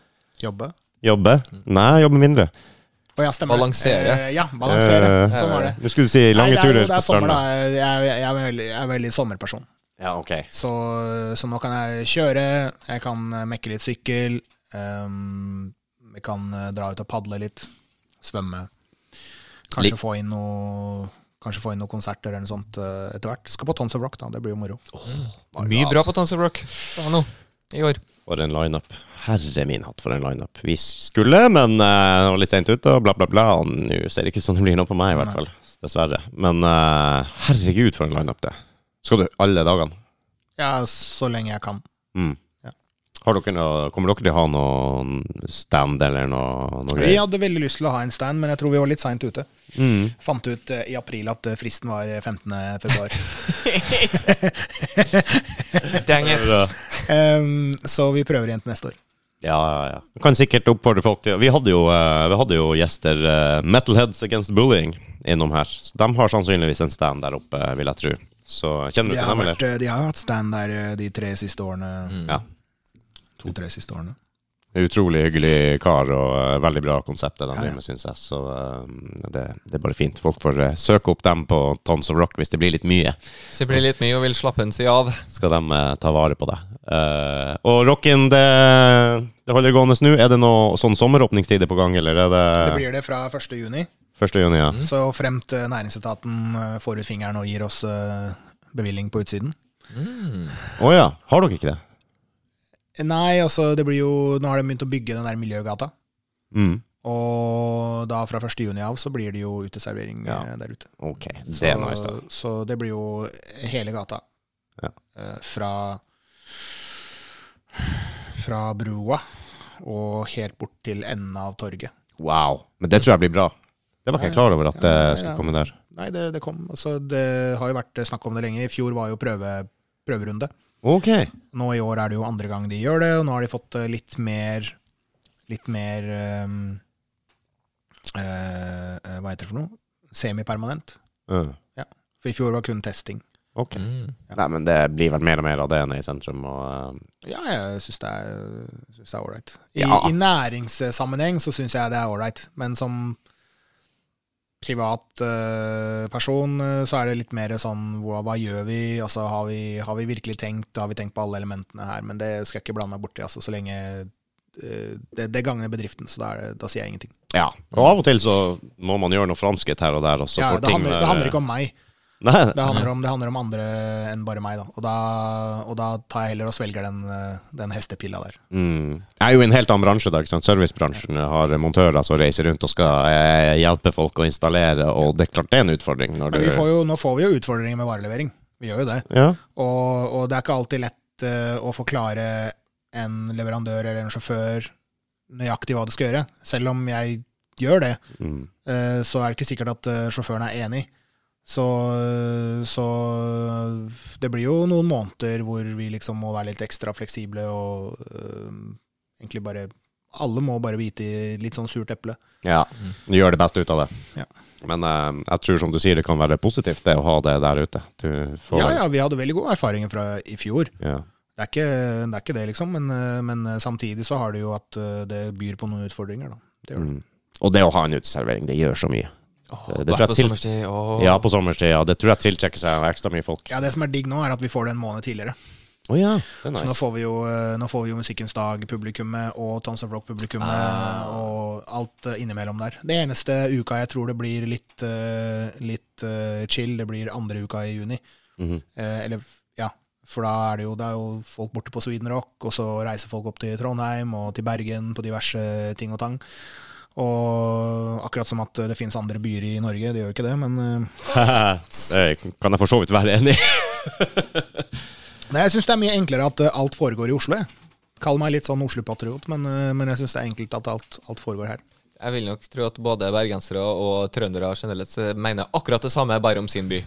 S5: Jobbe.
S3: Jobbe? Nei, jobbe mindre.
S5: Å ja, stemmer. det.
S4: Balansere.
S5: Eh, ja, balansere.
S3: Eh,
S5: sånn var det.
S3: Nå skulle du si lange
S5: Nei, det er,
S3: turer
S5: jo- det
S3: på
S5: er sommer, da.
S3: stranda.
S5: Jeg, jeg, jeg, er veldig, jeg er veldig sommerperson.
S3: Ja, ok.
S5: Så, så nå kan jeg kjøre, jeg kan eh, mekke litt sykkel, ehm, jeg kan eh, dra ut og padle litt, svømme. Kanskje,
S3: Lik-
S5: få inn noe, kanskje få inn noen konserter eller noe sånt eh, etter hvert. Skal på Tons of Rock, da. Det blir jo moro.
S4: Mye bra på Tons of Rock Ja, nå, i år.
S3: For en lineup. Herre min hatt, for en lineup. Vi skulle, men eh, det var litt seint ute, og bla, bla, bla. Og nå ser det ikke ut som det blir noe på meg, i hvert fall. Dessverre. Men eh, herregud, for en lineup det Skal du alle dagene?
S5: Ja, så lenge jeg kan.
S3: Mm.
S5: Ja.
S3: Har dere noe, kommer dere til å ha noe stand eller noe, noe
S5: Vi
S3: greier?
S5: hadde veldig lyst til å ha en stand, men jeg tror vi var litt seint ute.
S3: Mm.
S5: Fant ut eh, i april at eh, fristen var eh, 15. februar.
S4: Dang it.
S3: Ja,
S5: Ehm, så vi prøver igjen til neste år.
S3: ja, ja. Jeg Kan sikkert oppfordre folk til Vi hadde jo, eh, vi hadde jo gjester, eh, Metalheads Against Bullying, innom her. Så de har sannsynligvis en stand der oppe, vil jeg tro. Så kjenner du
S5: De
S3: til
S5: har,
S3: dem, eller?
S5: vært, eh, de har hatt stand der eh, de tre siste årene.
S3: Ja.
S5: To-tre siste årene.
S3: Utrolig hyggelig kar og eh, veldig bra konsept det de
S5: Ja, ja.
S3: driver med, syns jeg. Så eh, det, det er bare fint. Folk får eh, søke opp dem på Tons of Rock hvis det blir litt mye.
S4: Så det blir litt mye og vil slappe en side av.
S3: Skal de eh, ta vare på det. Eh, og rocken, det, det holder gående nå. Er det noe sånn sommeråpningstider på gang, eller er det,
S5: Det blir det fra 1. juni.
S3: 1. juni? Ja.
S5: Så fremt eh, næringsetaten eh, får ut fingeren og gir oss eh, bevilgning på utsiden.
S3: Å ja, har dere ikke det?
S5: Eh, Nei, altså det blir jo Nå har de begynt å bygge den der miljøgata.
S3: Mm.
S5: Og da fra 1. juni av så blir det jo uteservering eh,
S3: Ja.
S5: der ute.
S3: Ok,
S5: Så,
S3: det er nice, da.
S5: så det blir jo hele gata.
S3: Ja.
S5: Eh, Fra Fra broa og helt bort til enden av torget.
S3: Wow. Men det tror jeg blir bra. Det var ikke jeg klar over at det
S5: Ja, ja,
S3: skulle
S5: ja.
S3: komme der.
S5: Nei, det, det kom altså, Det har jo vært eh, snakk om det lenge. I fjor var jo prøve, prøverunde.
S3: Ok.
S5: Nå i år er det jo andre gang de gjør det, og nå har de fått eh, litt mer Litt mer ehm, eh, eh, Hva heter det for noe? Semipermanent.
S3: Mm.
S5: For i fjor var kun testing.
S3: Ok.
S5: Mm.
S4: Mm.
S3: Nei, men det blir vel mer og mer av det nede i sentrum. Og, eh,
S5: Ja, jeg syns det er synes det er ålreit. I,
S3: Ja.
S5: I næringssammenheng så syns jeg det er ålreit, men som privat eh, person eh, så er det litt mer sånn hva, hva gjør vi? Altså, har vi, har vi virkelig tenkt? Har vi tenkt på alle elementene her? Men det skal jeg ikke blande meg borti, altså, så lenge eh, det, det gagner bedriften, så da, er det, da sier jeg ingenting.
S3: eh, ja. og av og til så må man gjøre noe framskritt her og der. Og så
S5: Ja,
S3: får
S5: det,
S3: ting eh,
S5: handler, det handler ikke om meg,
S3: Nei,
S5: det handler om, det handler om andre enn bare meg. Da. Og, da, og da tar jeg heller og svelger den, eh, den hestepilla der.
S3: Mm. Jeg er jo i en helt annen bransje. da, ikke sant? Servicebransjen har montører som reiser rundt og skal eh, hjelpe folk å installere, og det er klart det er en utfordring. Når
S5: Men vi
S3: du-
S5: får jo, nå får vi jo utfordringer med varelevering. Vi gjør jo det.
S3: ja.
S5: Og, og det er ikke alltid lett eh, å forklare en leverandør eller en sjåfør nøyaktig hva det skal gjøre. Selv om jeg gjør det,
S3: Mm.
S5: eh, så er det ikke sikkert at eh, sjåføren er enig. Så, så det blir jo noen måneder hvor vi liksom må være litt ekstra fleksible og eh, egentlig bare Alle må bare bite i litt sånn surt eple.
S3: ja. Du gjør det beste ut av det.
S5: Ja.
S3: Men eh, jeg tror, som du sier, det kan være positivt det å ha det der ute. Du får,
S5: Ja, ja, vi hadde veldig gode erfaringer fra i fjor.
S3: Ja.
S5: Det er, ikke, det er ikke det, liksom, men, eh, men eh, samtidig så har det jo at eh, det byr på noen utfordringer, da. Det gjør det.
S3: Mm. Og det å ha en uteservering, det gjør så mye. Det- det tror jeg
S4: på
S3: til-
S4: sommerstid. Åh.
S3: Ja, på sommerstid. Ja. Det tror jeg tiltrekker seg ekstra mye folk.
S5: Ja, Det som er digg nå, er at vi får det en måned tidligere.
S3: Å ja, det er
S5: Så nå
S3: nice.
S5: får vi jo, eh, nå får vi jo Musikkens Dag-publikummet og Tons of Rock-publikummet
S3: Ah.
S5: og alt eh, innimellom der. Det eneste uka jeg tror det blir litt, eh, litt eh, chill, det blir andre uka i juni.
S3: Mhm.
S5: Eh, Eller, f- ja, for da er det jo, det er jo folk borte på Sweden Rock, og så reiser folk opp til Trondheim og til Bergen på diverse ting og tang. Og akkurat som at det finnes andre byer i Norge, det gjør jo ikke det, men eh,
S3: det Eh, kan jeg for så vidt være enig i.
S5: Nei, jeg syns det er mye enklere at eh, alt foregår i Oslo. jeg. Kall meg litt sånn Oslo-patriot, men, eh, men jeg syns det er enkelt at alt, alt foregår her.
S4: Jeg vil nok tro at både bergensere og trøndere generelt sett mener akkurat det samme, bare om sin by.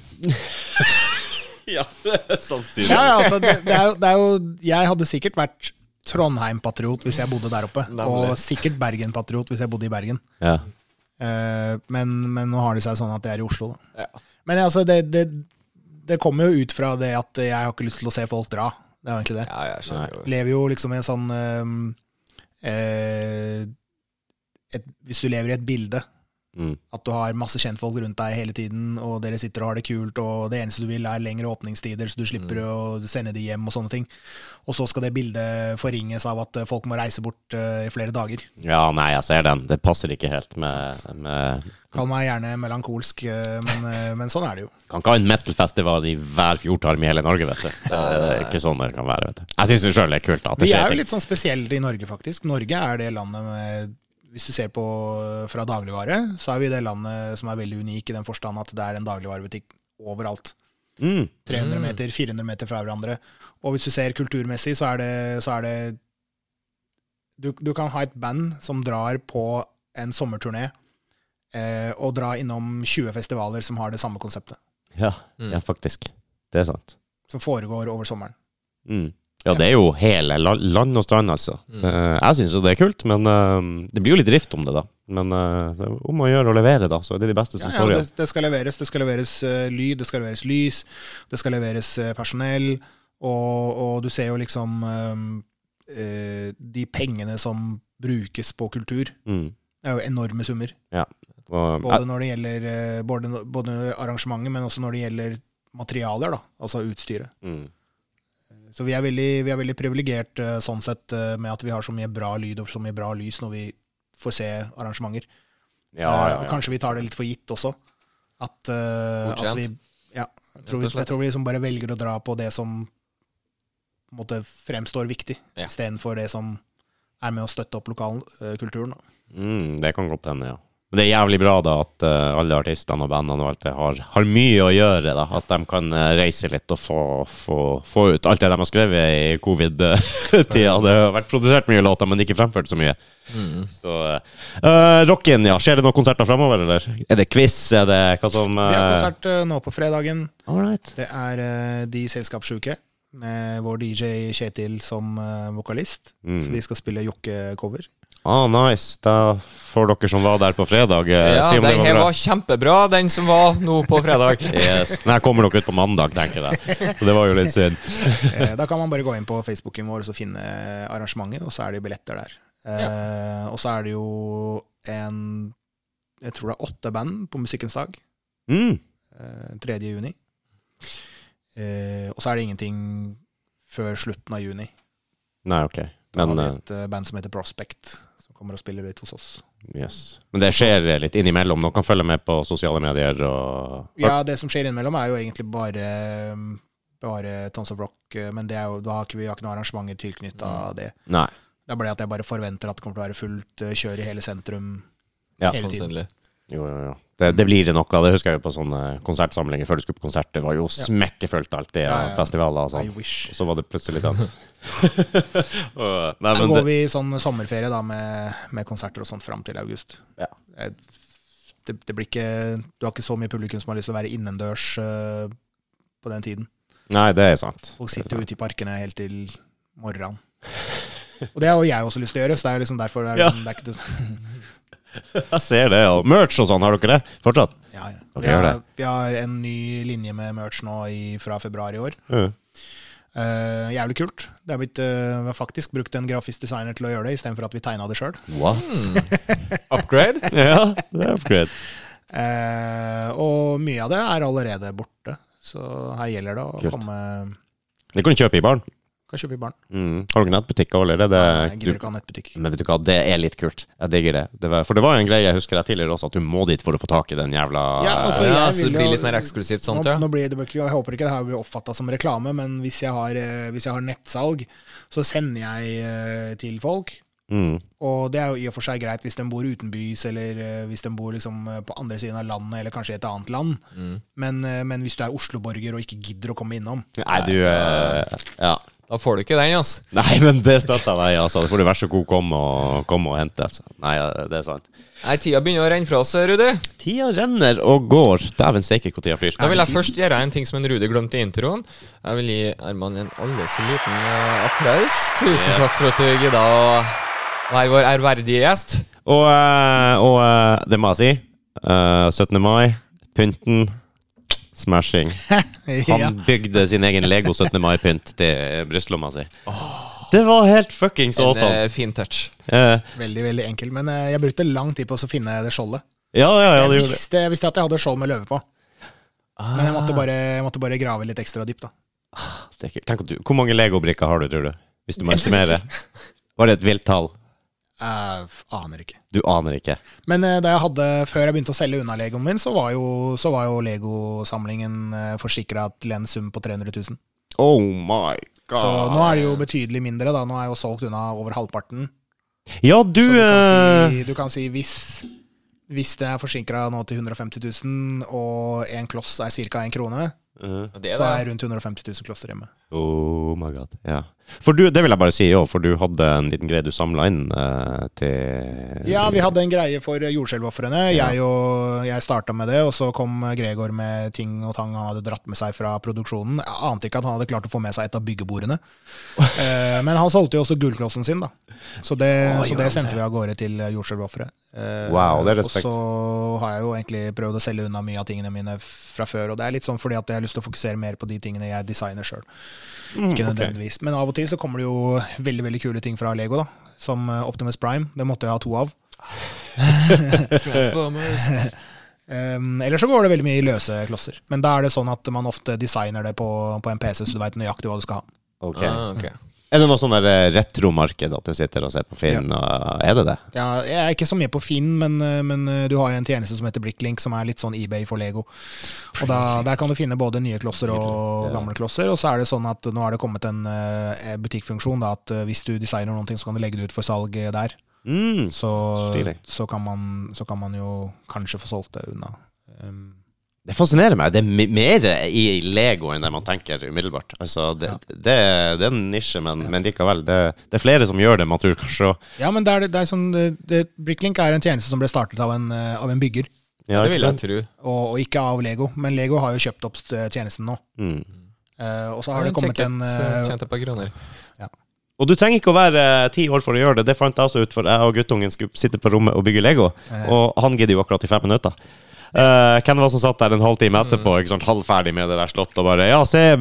S3: ja, sannsynlig.
S5: Ja, ja, altså, det, det, er jo, det er jo Jeg hadde sikkert vært Trondheim-patriot hvis jeg bodde der oppe, og sikkert Bergen-patriot hvis jeg bodde i Bergen.
S3: Ja.
S5: Eh, men, men nå har det seg sånn at jeg er i Oslo, da.
S4: Ja.
S5: Men altså, det, det, det kommer jo ut fra det at jeg har ikke lyst til å se folk dra. Det er egentlig det.
S4: Ja, jeg skjønner jo.
S5: lever jo liksom i en sånn eh, eh, et, Hvis du lever i et bilde,
S3: Mm.
S5: at du har masse kjentfolk rundt deg hele tiden, og dere sitter og har det kult, og det eneste du vil, er lengre åpningstider, så du slipper
S4: Mm.
S5: å sende de hjem og sånne ting. Og så skal det bildet forringes av at eh, folk må reise bort eh, i flere dager.
S3: ja, nei, jeg ser den. Det passer ikke helt med, med
S5: Kall meg gjerne melankolsk, eh, men, eh, men sånn er det jo.
S3: Kan ikke ha en metal-festival i hver fjortarm i hele Norge, vet du. Det er det er ikke sånn det kan være, vet du. Jeg syns det sjøl er kult at det
S5: Vi er
S3: skjer
S5: jo
S3: ting.
S5: litt sånn spesielle i Norge, faktisk. Norge er det landet med Hvis du ser på fra dagligvare, så er vi det landet som er veldig unik i den forstand at det er en dagligvarebutikk overalt.
S3: Mm.
S5: 300 meter, 400 meter fra hverandre. Og hvis du ser kulturmessig, så er det, så er det du, du kan ha et band som drar på en sommerturné eh, og dra innom 20 festivaler som har det samme konseptet,
S3: Ja, ja, faktisk. Det er sant.
S5: som foregår over sommeren.
S3: Mm. Ja, det er jo hele la- land og strand, altså. Det, jeg syns jo det er kult, men eh, det blir jo litt drift om det, da. Men eh, det er om å gjøre å levere, da, så er det de beste som
S5: Ja, ja,
S3: står
S5: det,
S3: igjen.
S5: det skal leveres. Det skal leveres eh, lyd, det skal leveres lys, det skal leveres eh, personell, og, og du ser jo liksom eh, eh, de pengene som brukes på kultur.
S3: Mm.
S5: Det er jo enorme summer,
S3: Ja. Og,
S5: både når det gjelder eh, både, både arrangementet, men også når det gjelder materialer, da, altså utstyret.
S3: mm.
S5: Så vi er veldig, vi er veldig privilegert eh, sånn sett eh, med at vi har så mye bra lyd og så mye bra lys når vi får se arrangementer.
S3: ja,
S5: Eh,
S3: ja,
S5: og
S3: ja.
S5: Kanskje vi tar det litt for gitt også. At, eh,
S4: Bortskjemt.
S5: at vi ja, jeg
S4: Rett og
S5: tror, vi-
S4: slett.
S5: jeg tror vi liksom bare velger å dra på det som på en måte, fremstår viktig,
S4: Ja.
S5: istedenfor det som er med å støtte opp eh, lokalkulturen.
S3: Mm, det kan godt hende, ja. Men det er jævlig bra da at eh, alle artistene og bandene og alt det har, har mye å gjøre. da At de kan eh, reise litt og få, få, få ut alt det de har skrevet i covid-tida. Det har vært produsert mye låter, men ikke fremført så mye. Så eh, Rocken, ja. Skjer det noen konserter fremover, eller? Er det quiz? Er det hva som
S5: Vi har
S3: eh,
S5: konsert eh, nå på fredagen.
S3: All right.
S5: Det er eh, De selskapssjuke, med vår DJ Kjetil som eh, vokalist.
S3: Mm.
S5: Så de skal spille Jokke-cover.
S3: Ah, nice. Da får dere som var der på fredag, eh,
S4: Ja,
S3: si om det
S4: den
S3: var
S4: her
S3: bra.
S4: var kjempebra, den som var nå på fredag.
S3: Yes. Men jeg kommer nok ut på mandag, tenker jeg. Så det var jo litt synd.
S5: Eh, Da kan man bare gå inn på Facebooken vår og så finne eh, arrangementet, og så er det billetter der. Eh, Og så er det jo en Jeg tror det er åtte band på Musikkens dag,
S3: Mm.
S5: eh, 3. juni. Eh, og så er det ingenting før slutten av juni.
S3: Nei, ok.
S5: Da
S3: Men
S5: har vi et eh, band som heter Prospect, som kommer og spiller litt hos oss.
S3: eh, yes. Men det skjer eh, litt innimellom. Noen kan følge med på sosiale medier og
S5: Ja, det som skjer innimellom, er jo egentlig bare Bare Tons of Rock, eh, men det er jo, da har ikke vi har ikke noe arrangement tilknytta
S3: Mm.
S5: det.
S3: Nei.
S5: Det er bare at jeg bare forventer at det kommer til å være fullt eh, kjør i hele sentrum.
S3: Ja.
S5: Hele tiden.
S4: Sannsynlig.
S3: Jo, jo, jo. Det, det blir det nok av. Det husker jeg jo på sånne konsertsamlinger før du skulle på konsert. Det var jo smekkefullt alt det,
S5: Ja,
S3: og
S5: ja.
S3: festivaler og sånn.
S5: I wish.
S3: Og så var det plutselig dømt. Og- Nei,
S5: Så
S3: men
S5: går
S3: det,
S5: vi i sånn sommerferie da med, med konserter og sånt fram til august.
S3: Ja.
S5: Eh, Det, det blir ikke, du har ikke så mye publikum som har lyst til å være innendørs eh, på den tiden.
S3: nei, det er sant.
S5: Folk sitter jo ute i parkene helt til morgenen. Og det har jo jeg også lyst til å gjøre, så det er jo liksom derfor det er,
S3: Ja.
S5: det er ikke det,
S3: Jeg ser det. Og merch og sånn, har dere det fortsatt?
S5: ja, ja.
S3: Ok,
S5: Vi,
S3: gjør
S5: har,
S3: det.
S5: vi har en ny linje med merch nå i, fra februar i år.
S3: Mm.
S5: Eh, jævlig kult. Det er blitt, eh, vi har faktisk brukt en grafisk designer til å gjøre det, istedenfor at vi tegna det sjøl.
S3: What?
S4: Upgrade?
S3: ja, det er upgrade.
S5: Eh, og mye av det er allerede borte, så her gjelder det å
S3: Kult.
S5: komme
S3: Det kan du kjøpe i baren.
S5: Kan kjøpe i baren.
S3: Mm. Har du ikke nettbutikker allerede?
S5: Jeg
S3: Du,
S5: gidder ikke ha nettbutikk.
S3: men vet du hva, det er litt kult. Jeg digger det. det var, for det var jo en greie jeg husker jeg tidligere også, at du må dit for å få tak i den jævla
S5: Ja, altså,
S4: Ja,
S5: jeg
S4: så det
S5: vil
S4: blir
S5: jo-
S4: litt mer eksklusivt sånt,
S5: nå,
S4: ja.
S5: nå blir det, jeg håper ikke det her blir oppfatta som reklame, men hvis jeg, har, eh, hvis jeg har nettsalg, så sender jeg eh, til folk.
S3: Mm.
S5: Og det er jo i og for seg greit hvis de bor utenbys, eller eh, hvis de bor liksom eh, på andre siden av landet, eller kanskje i et annet land.
S4: Mm.
S5: Men, eh, men hvis du er Oslo-borger og ikke gidder å komme innom
S3: Nei, du eh, Ja.
S4: Da får du ikke den, altså.
S3: Nei, men det støtter jeg, altså. Da får du være så god komme og, komme og hente. Altså. Nei, ja, det er sant.
S4: Nei, tida begynner å renne fra oss, Rudi.
S3: Tida renner og går. Dæven steike hvor tida flyr.
S4: Da vil jeg først gjøre en ting som en Rudi glemte i introen. Jeg vil gi Herman en aldri så liten eh, applaus. Tusen
S3: Yes.
S4: takk for at du gidda å være vår ærverdige gjest.
S3: Og, eh, og eh, det må jeg si. Eh, 17. mai, pynten, smashing. Han
S5: ja.
S3: bygde sin egen Lego 17. mai-pynt til brystlomma si. Det var helt fuckings
S4: En
S3: awesome.
S4: eh, fin touch.
S3: Eh,
S5: Veldig, veldig enkel. Men eh, jeg brukte lang tid på å finne det skjoldet.
S3: ja, ja, ja, det
S5: Jeg
S3: gjorde det.
S5: visste, jeg visste at jeg hadde skjold med løve på. Men jeg
S3: Ah.
S5: måtte bare, jeg måtte bare grave litt ekstra dypt, da.
S3: det er ikke, tenk at du, hvor mange Lego-brikker har du, tror du? Hvis du må estimere. Var det et vilt tall?
S5: Jeg f- aner ikke.
S3: Du aner ikke.
S5: Men eh, da jeg hadde, før jeg begynte å selge unna Legoen min, så var jo, så var jo Lego-samlingen forsikra til en sum på 300 000.
S3: Oh my god.
S5: Så nå er det jo betydelig mindre, da. Nå er jeg jo solgt unna over halvparten.
S3: Ja, du,
S5: Så du
S3: eh,
S5: kan si, du kan si hvis, hvis det er forsinka nå til 150 000, og en kloss er ca. én krone,
S3: eh,
S4: Og det
S5: så er jeg rundt 150 000 klosser hjemme.
S3: Oh my god. Ja. For du, det vil jeg bare si òg, for du hadde en liten greie du samla inn eh, til
S5: Ja, vi hadde en greie for jordskjelvofrene. Jeg, og- jeg starta med det, og så kom Gregor med ting og tang han hadde dratt med seg fra produksjonen. Jeg ante ikke at han hadde klart å få med seg et av byggebordene. Eh, Men han solgte jo også gullklossen sin, da. Så det,
S3: Å,
S5: så
S3: gjorde han
S5: det sendte vi av gårde til jordskjelvofre. Eh,
S3: Wow, det er respekt.
S5: Og så har jeg jo egentlig prøvd å selge unna mye av tingene mine fra før, og det er litt sånn fordi at jeg har lyst til å fokusere mer på de tingene jeg designer sjøl.
S3: Mm,
S5: Ikke nødvendigvis. Men av og til så kommer det jo veldig veldig kule ting fra Lego, da. Som eh, Optimus Prime. Det måtte jeg ha to av.
S4: Transformers.
S5: Um, eller så går det veldig mye i løse klosser. Men da er det sånn at man ofte designer det på, på en PC, så du veit nøyaktig hva du skal ha.
S3: Ok.
S4: Ah, ok.
S3: Er det noe sånn der eh, retromarked at du sitter og ser på Finn? og- Er det det?
S5: Ja, jeg er ikke så mye på Finn, men, eh, men eh, du har jo en tjeneste som heter Bricklink, som er litt sånn eBay for Lego. Og da, Der kan du finne både nye klosser og gamle klosser. Og så er det sånn at nå er det kommet en eh, butikkfunksjon da, at eh, hvis du designer noe, så kan du legge det ut for salg eh, der.
S3: Mm.
S5: Så,
S3: Stilig.
S5: så, kan, man, så kan man jo kanskje få solgt det unna. Um,
S3: Det fascinerer meg. Det er mi- mer i Lego enn det man tenker umiddelbart. Altså, det, det, det er en nisje, men, men likevel. Det, det er flere som gjør det, man tror kanskje. og-
S5: ja, men det er, det er sånn, det, det, Bricklink er en tjeneste som ble startet av en, eh, av en bygger.
S3: Ja,
S4: Det
S3: ikke
S4: vil jeg
S3: sant?
S4: tro.
S5: og, og ikke av Lego. Men Lego har jo kjøpt opp st- tjenesten nå.
S3: Mm.
S5: Eh, og så har det kommet
S4: Sjekket,
S5: en
S4: eh,
S5: eh,
S4: Tjente et par kroner.
S3: Og du trenger ikke å være eh, ti år for å gjøre det. Det fant jeg også ut, for jeg og guttungen skulle sitte på rommet og bygge Lego. Og han gidder jo akkurat i fem minutter. Eh, hvem var det som satt der en
S4: Mm.
S3: halvtime etterpå, ikke sant, halvferdig med det der slottet, og bare Ja, se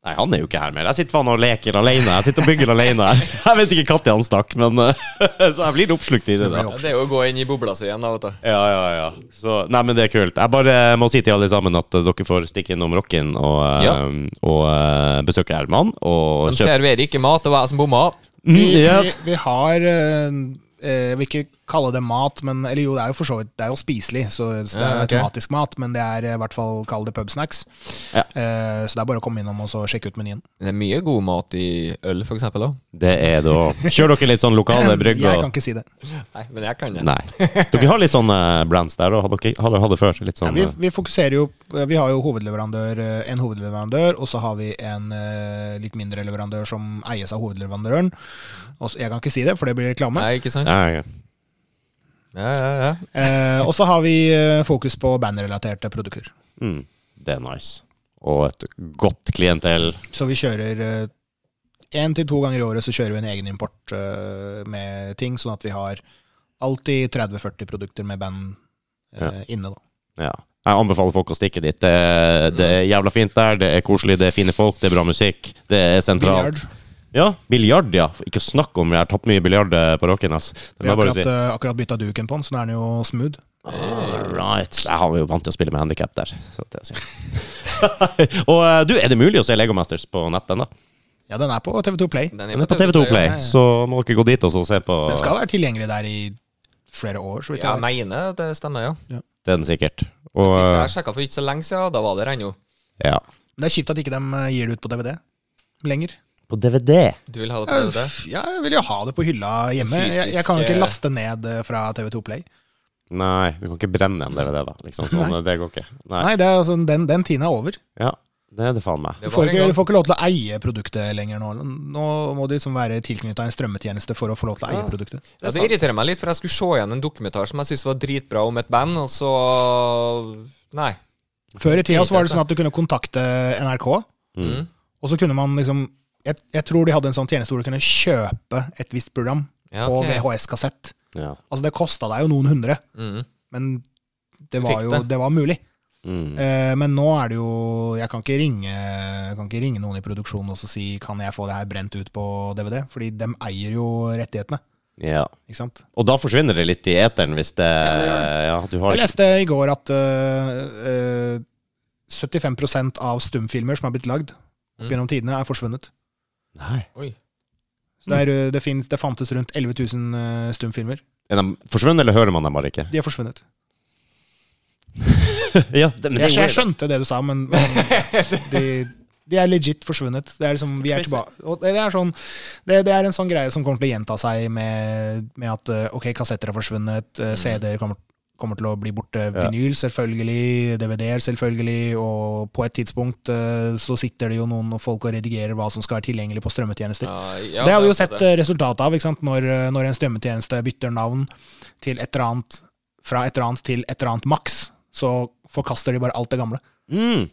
S3: Nei, han er jo ikke her mer. Jeg sitter faen og leker alene. Jeg sitter og bygger alene her. Jeg vet ikke når han stakk, men eh, Så jeg blir oppslukt i det. da.
S4: Ja, det er jo å gå inn i bobla si igjen, da, vet du.
S3: Ja, ja, ja. Så, nei, men det er kult. Jeg bare må si til alle sammen at eh, dere får stikke innom Rocken og, eh,
S4: Ja.
S3: og eh, besøke Herman og
S4: De serverer ikke mat, det var jeg som bomma.
S5: vi,
S3: Mm, ja.
S5: vi, vi har eh, eh, Jeg vil ikke kalle det mat, men Eller jo, det er jo for så vidt Det er jo spiselig, så, så det er
S4: Ja,
S5: jo
S4: ok.
S5: automatisk mat. Men det er eh, i hvert fall kall det pubsnacks.
S3: Ja.
S5: Eh, så det er bare å komme innom og så sjekke ut menyen.
S4: Det er mye god mat i øl, for eksempel, da.
S3: Det er da Kjør dere litt sånn lokale
S5: Jeg
S3: brygger.
S5: kan ikke si det.
S4: Nei, men jeg kan det.
S3: Nei. Dere har litt sånne brands der, og har dere har dere hatt det før? Litt sånn,
S5: Vi, vi fokuserer jo eh, Vi har jo hovedleverandør, eh, en hovedleverandør, og så har vi en eh, litt mindre leverandør som eies av hovedleverandøren. Og så- jeg kan ikke si det, for det blir reklame.
S4: Nei, ikke sant?
S3: ja, ja.
S4: Ja, ja, ja.
S5: Eh, og så har vi eh, fokus på bandrelaterte produkter.
S3: Mm. Det er nice. Og et godt klientell.
S5: Så vi kjører én til to ganger i året så kjører vi en egen import eh, med ting, sånn at vi har alltid 30-40 produkter med band eh, inne, da.
S3: Ja. Jeg anbefaler folk å stikke dit. Det, det er jævla fint der, det er koselig, det er fine folk, det er bra musikk. Det er sentralt.
S5: Biljard.
S3: Ja, biljard, ja. Ikke snakk om, jeg har tatt mye biljard eh, på rocken, ass. Det må
S5: Vi har
S3: jeg bare
S5: akkurat,
S3: si.
S5: uh, akkurat bytta duken på den, så nå er den jo smooth.
S3: Right. Jeg har jo vant til å spille med handikap der. Så det er synd. og eh, du, er det mulig å se Legomasters på nett ennå?
S5: Ja, den er på TV2 Play.
S4: Den
S3: Den er på TV2 Play, så må dere gå dit og så se på
S5: Den skal være tilgjengelig der i flere år, så vidt
S4: Ja, jeg
S5: jeg vet.
S4: mener det stemmer, ja.
S3: den sikkert. Og, eh,
S4: Sist jeg sjekka for ikke så lenge siden, da var det der ennå.
S3: ja.
S5: Men det er kjipt at ikke de eh, gir det ut på DVD lenger.
S3: På DVD.
S4: Du vil ha det på
S5: Jeg,
S4: DVD?
S5: jeg vil jo ha det på hylla hjemme. Jeg, jeg kan
S4: Fysiske-
S5: jo ikke laste ned eh, fra TV2 Play.
S3: Nei, du kan ikke brenne en DVD, da. Liksom. Sånn,
S5: Nei.
S3: det går ikke. Nei.
S5: Nei, det er altså, den, den tiden er over.
S3: Ja, det er det faen meg.
S5: Du
S4: Det
S5: får,
S4: var en
S5: ikke, du
S4: gang.
S5: får ikke lov til å eie produktet lenger nå. Nå må du liksom være tilknytta en strømmetjeneste for å få lov til å eie produktet.
S4: Ja, det irriterer meg litt, for jeg skulle se igjen en dokumentar som jeg syntes var dritbra om et band, og så Nei.
S5: Før i tida så var det
S4: Irriterende.
S5: sånn at du kunne kontakte NRK,
S4: Mm.
S5: og så kunne man liksom jeg, jeg tror de hadde en sånn tjeneste hvor du kunne kjøpe et visst program
S4: Ja,
S5: på
S4: ok.
S5: VHS-kassett.
S3: Ja.
S5: Altså, det kosta deg jo noen hundre,
S4: Mm.
S5: men
S4: Du
S5: det var
S4: fikk
S5: jo
S4: det.
S5: det var mulig.
S3: Mm.
S5: Eh, men nå er det jo Jeg kan ikke ringe Jeg kan ikke ringe noen i produksjonen og så si kan jeg få det her brent ut på DVD, fordi dem eier jo rettighetene.
S3: ja.
S5: Ikke sant?
S3: Og da forsvinner det litt i eteren, hvis det
S5: det gjør
S3: Ja, du har
S5: Jeg
S3: ikke
S5: leste i går at øh, øh, 75 av stumfilmer som er blitt lagd opp gjennom tidene, er forsvunnet.
S3: Nei.
S4: Oi.
S5: Så det, er, øh, det, finnes, det fantes rundt 11 000 øh, stumfilmer.
S3: Er de forsvunnet, eller hører man dem bare ikke?
S5: De er forsvunnet.
S3: ja, det, men det
S5: Jeg,
S3: er
S5: jeg
S3: weird.
S5: skjønte det du sa, men, men de, de er legit forsvunnet. Det er liksom, vi er tilbake. Og det, det, er sånn, det, det er en sånn greie som kommer til å gjenta seg med, med at øh, ok, kassetter er forsvunnet,
S3: Mm.
S5: øh, CD-er kommer kommer til å bli borte. Vinyl, selvfølgelig. DVD-er, selvfølgelig. Og på et tidspunkt øh, så sitter det jo noen og folk og redigerer hva som skal være tilgjengelig på strømmetjenester
S4: Ja, ja,
S5: det har vi jo
S4: det-
S5: sett eh, resultatet av, ikke sant? Når, eh, når en strømmetjeneste bytter navn til et eller annet, fra et eller annet til et eller annet maks, så forkaster de bare alt det gamle.
S3: Mm.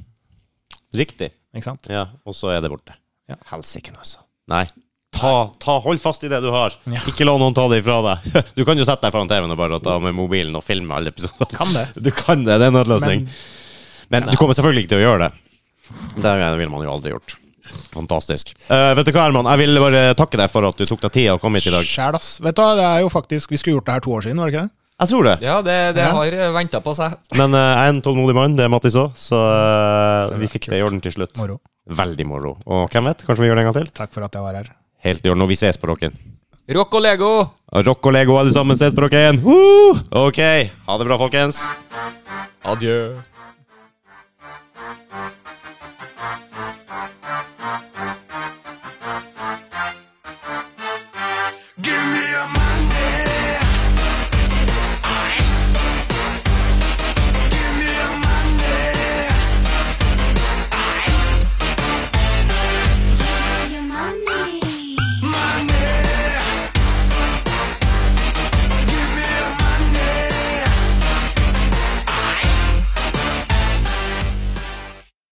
S3: Riktig.
S5: Ikke sant?
S3: Ja, og så er det borte.
S5: Ja.
S3: Helsike, altså. Nei. Ta, ta, hold fast i det du har.
S5: Ja.
S3: Ikke la noen ta det ifra deg. Du kan jo sette deg foran TV-en og bare ta med mobilen og filme alle episoder.
S5: Kan det.
S3: Du kan det, det er en nødløsning.
S5: Men-
S3: Men, du kommer selvfølgelig ikke til å gjøre det. Det ville man jo aldri gjort. Fantastisk. Eh, vet du hva, Herman? Jeg vil bare takke deg for at du tok deg tid å komme hit i dag.
S5: Sjæl, ass. Vet du hva, det er jo faktisk Vi skulle gjort det her to år siden, var det ikke det?
S3: Jeg tror det.
S4: Ja, det, det
S5: Ja.
S4: har venta på seg.
S3: Men eh, jeg er en tålmodig mann, det er Mattis òg, så eh,
S5: Så
S3: vi
S5: det er
S3: fikk det i orden til slutt.
S5: Moro.
S3: Veldig moro. Og hvem vet, kanskje vi gjør det en gang til?
S5: Takk for at jeg var her.
S3: Helt i orden. Og vi ses på rocken.
S4: Rock og Lego!
S3: Rock og Lego, alle sammen. Ses på rocken! Woo! Ok. Ha det bra, folkens.
S4: Adjø.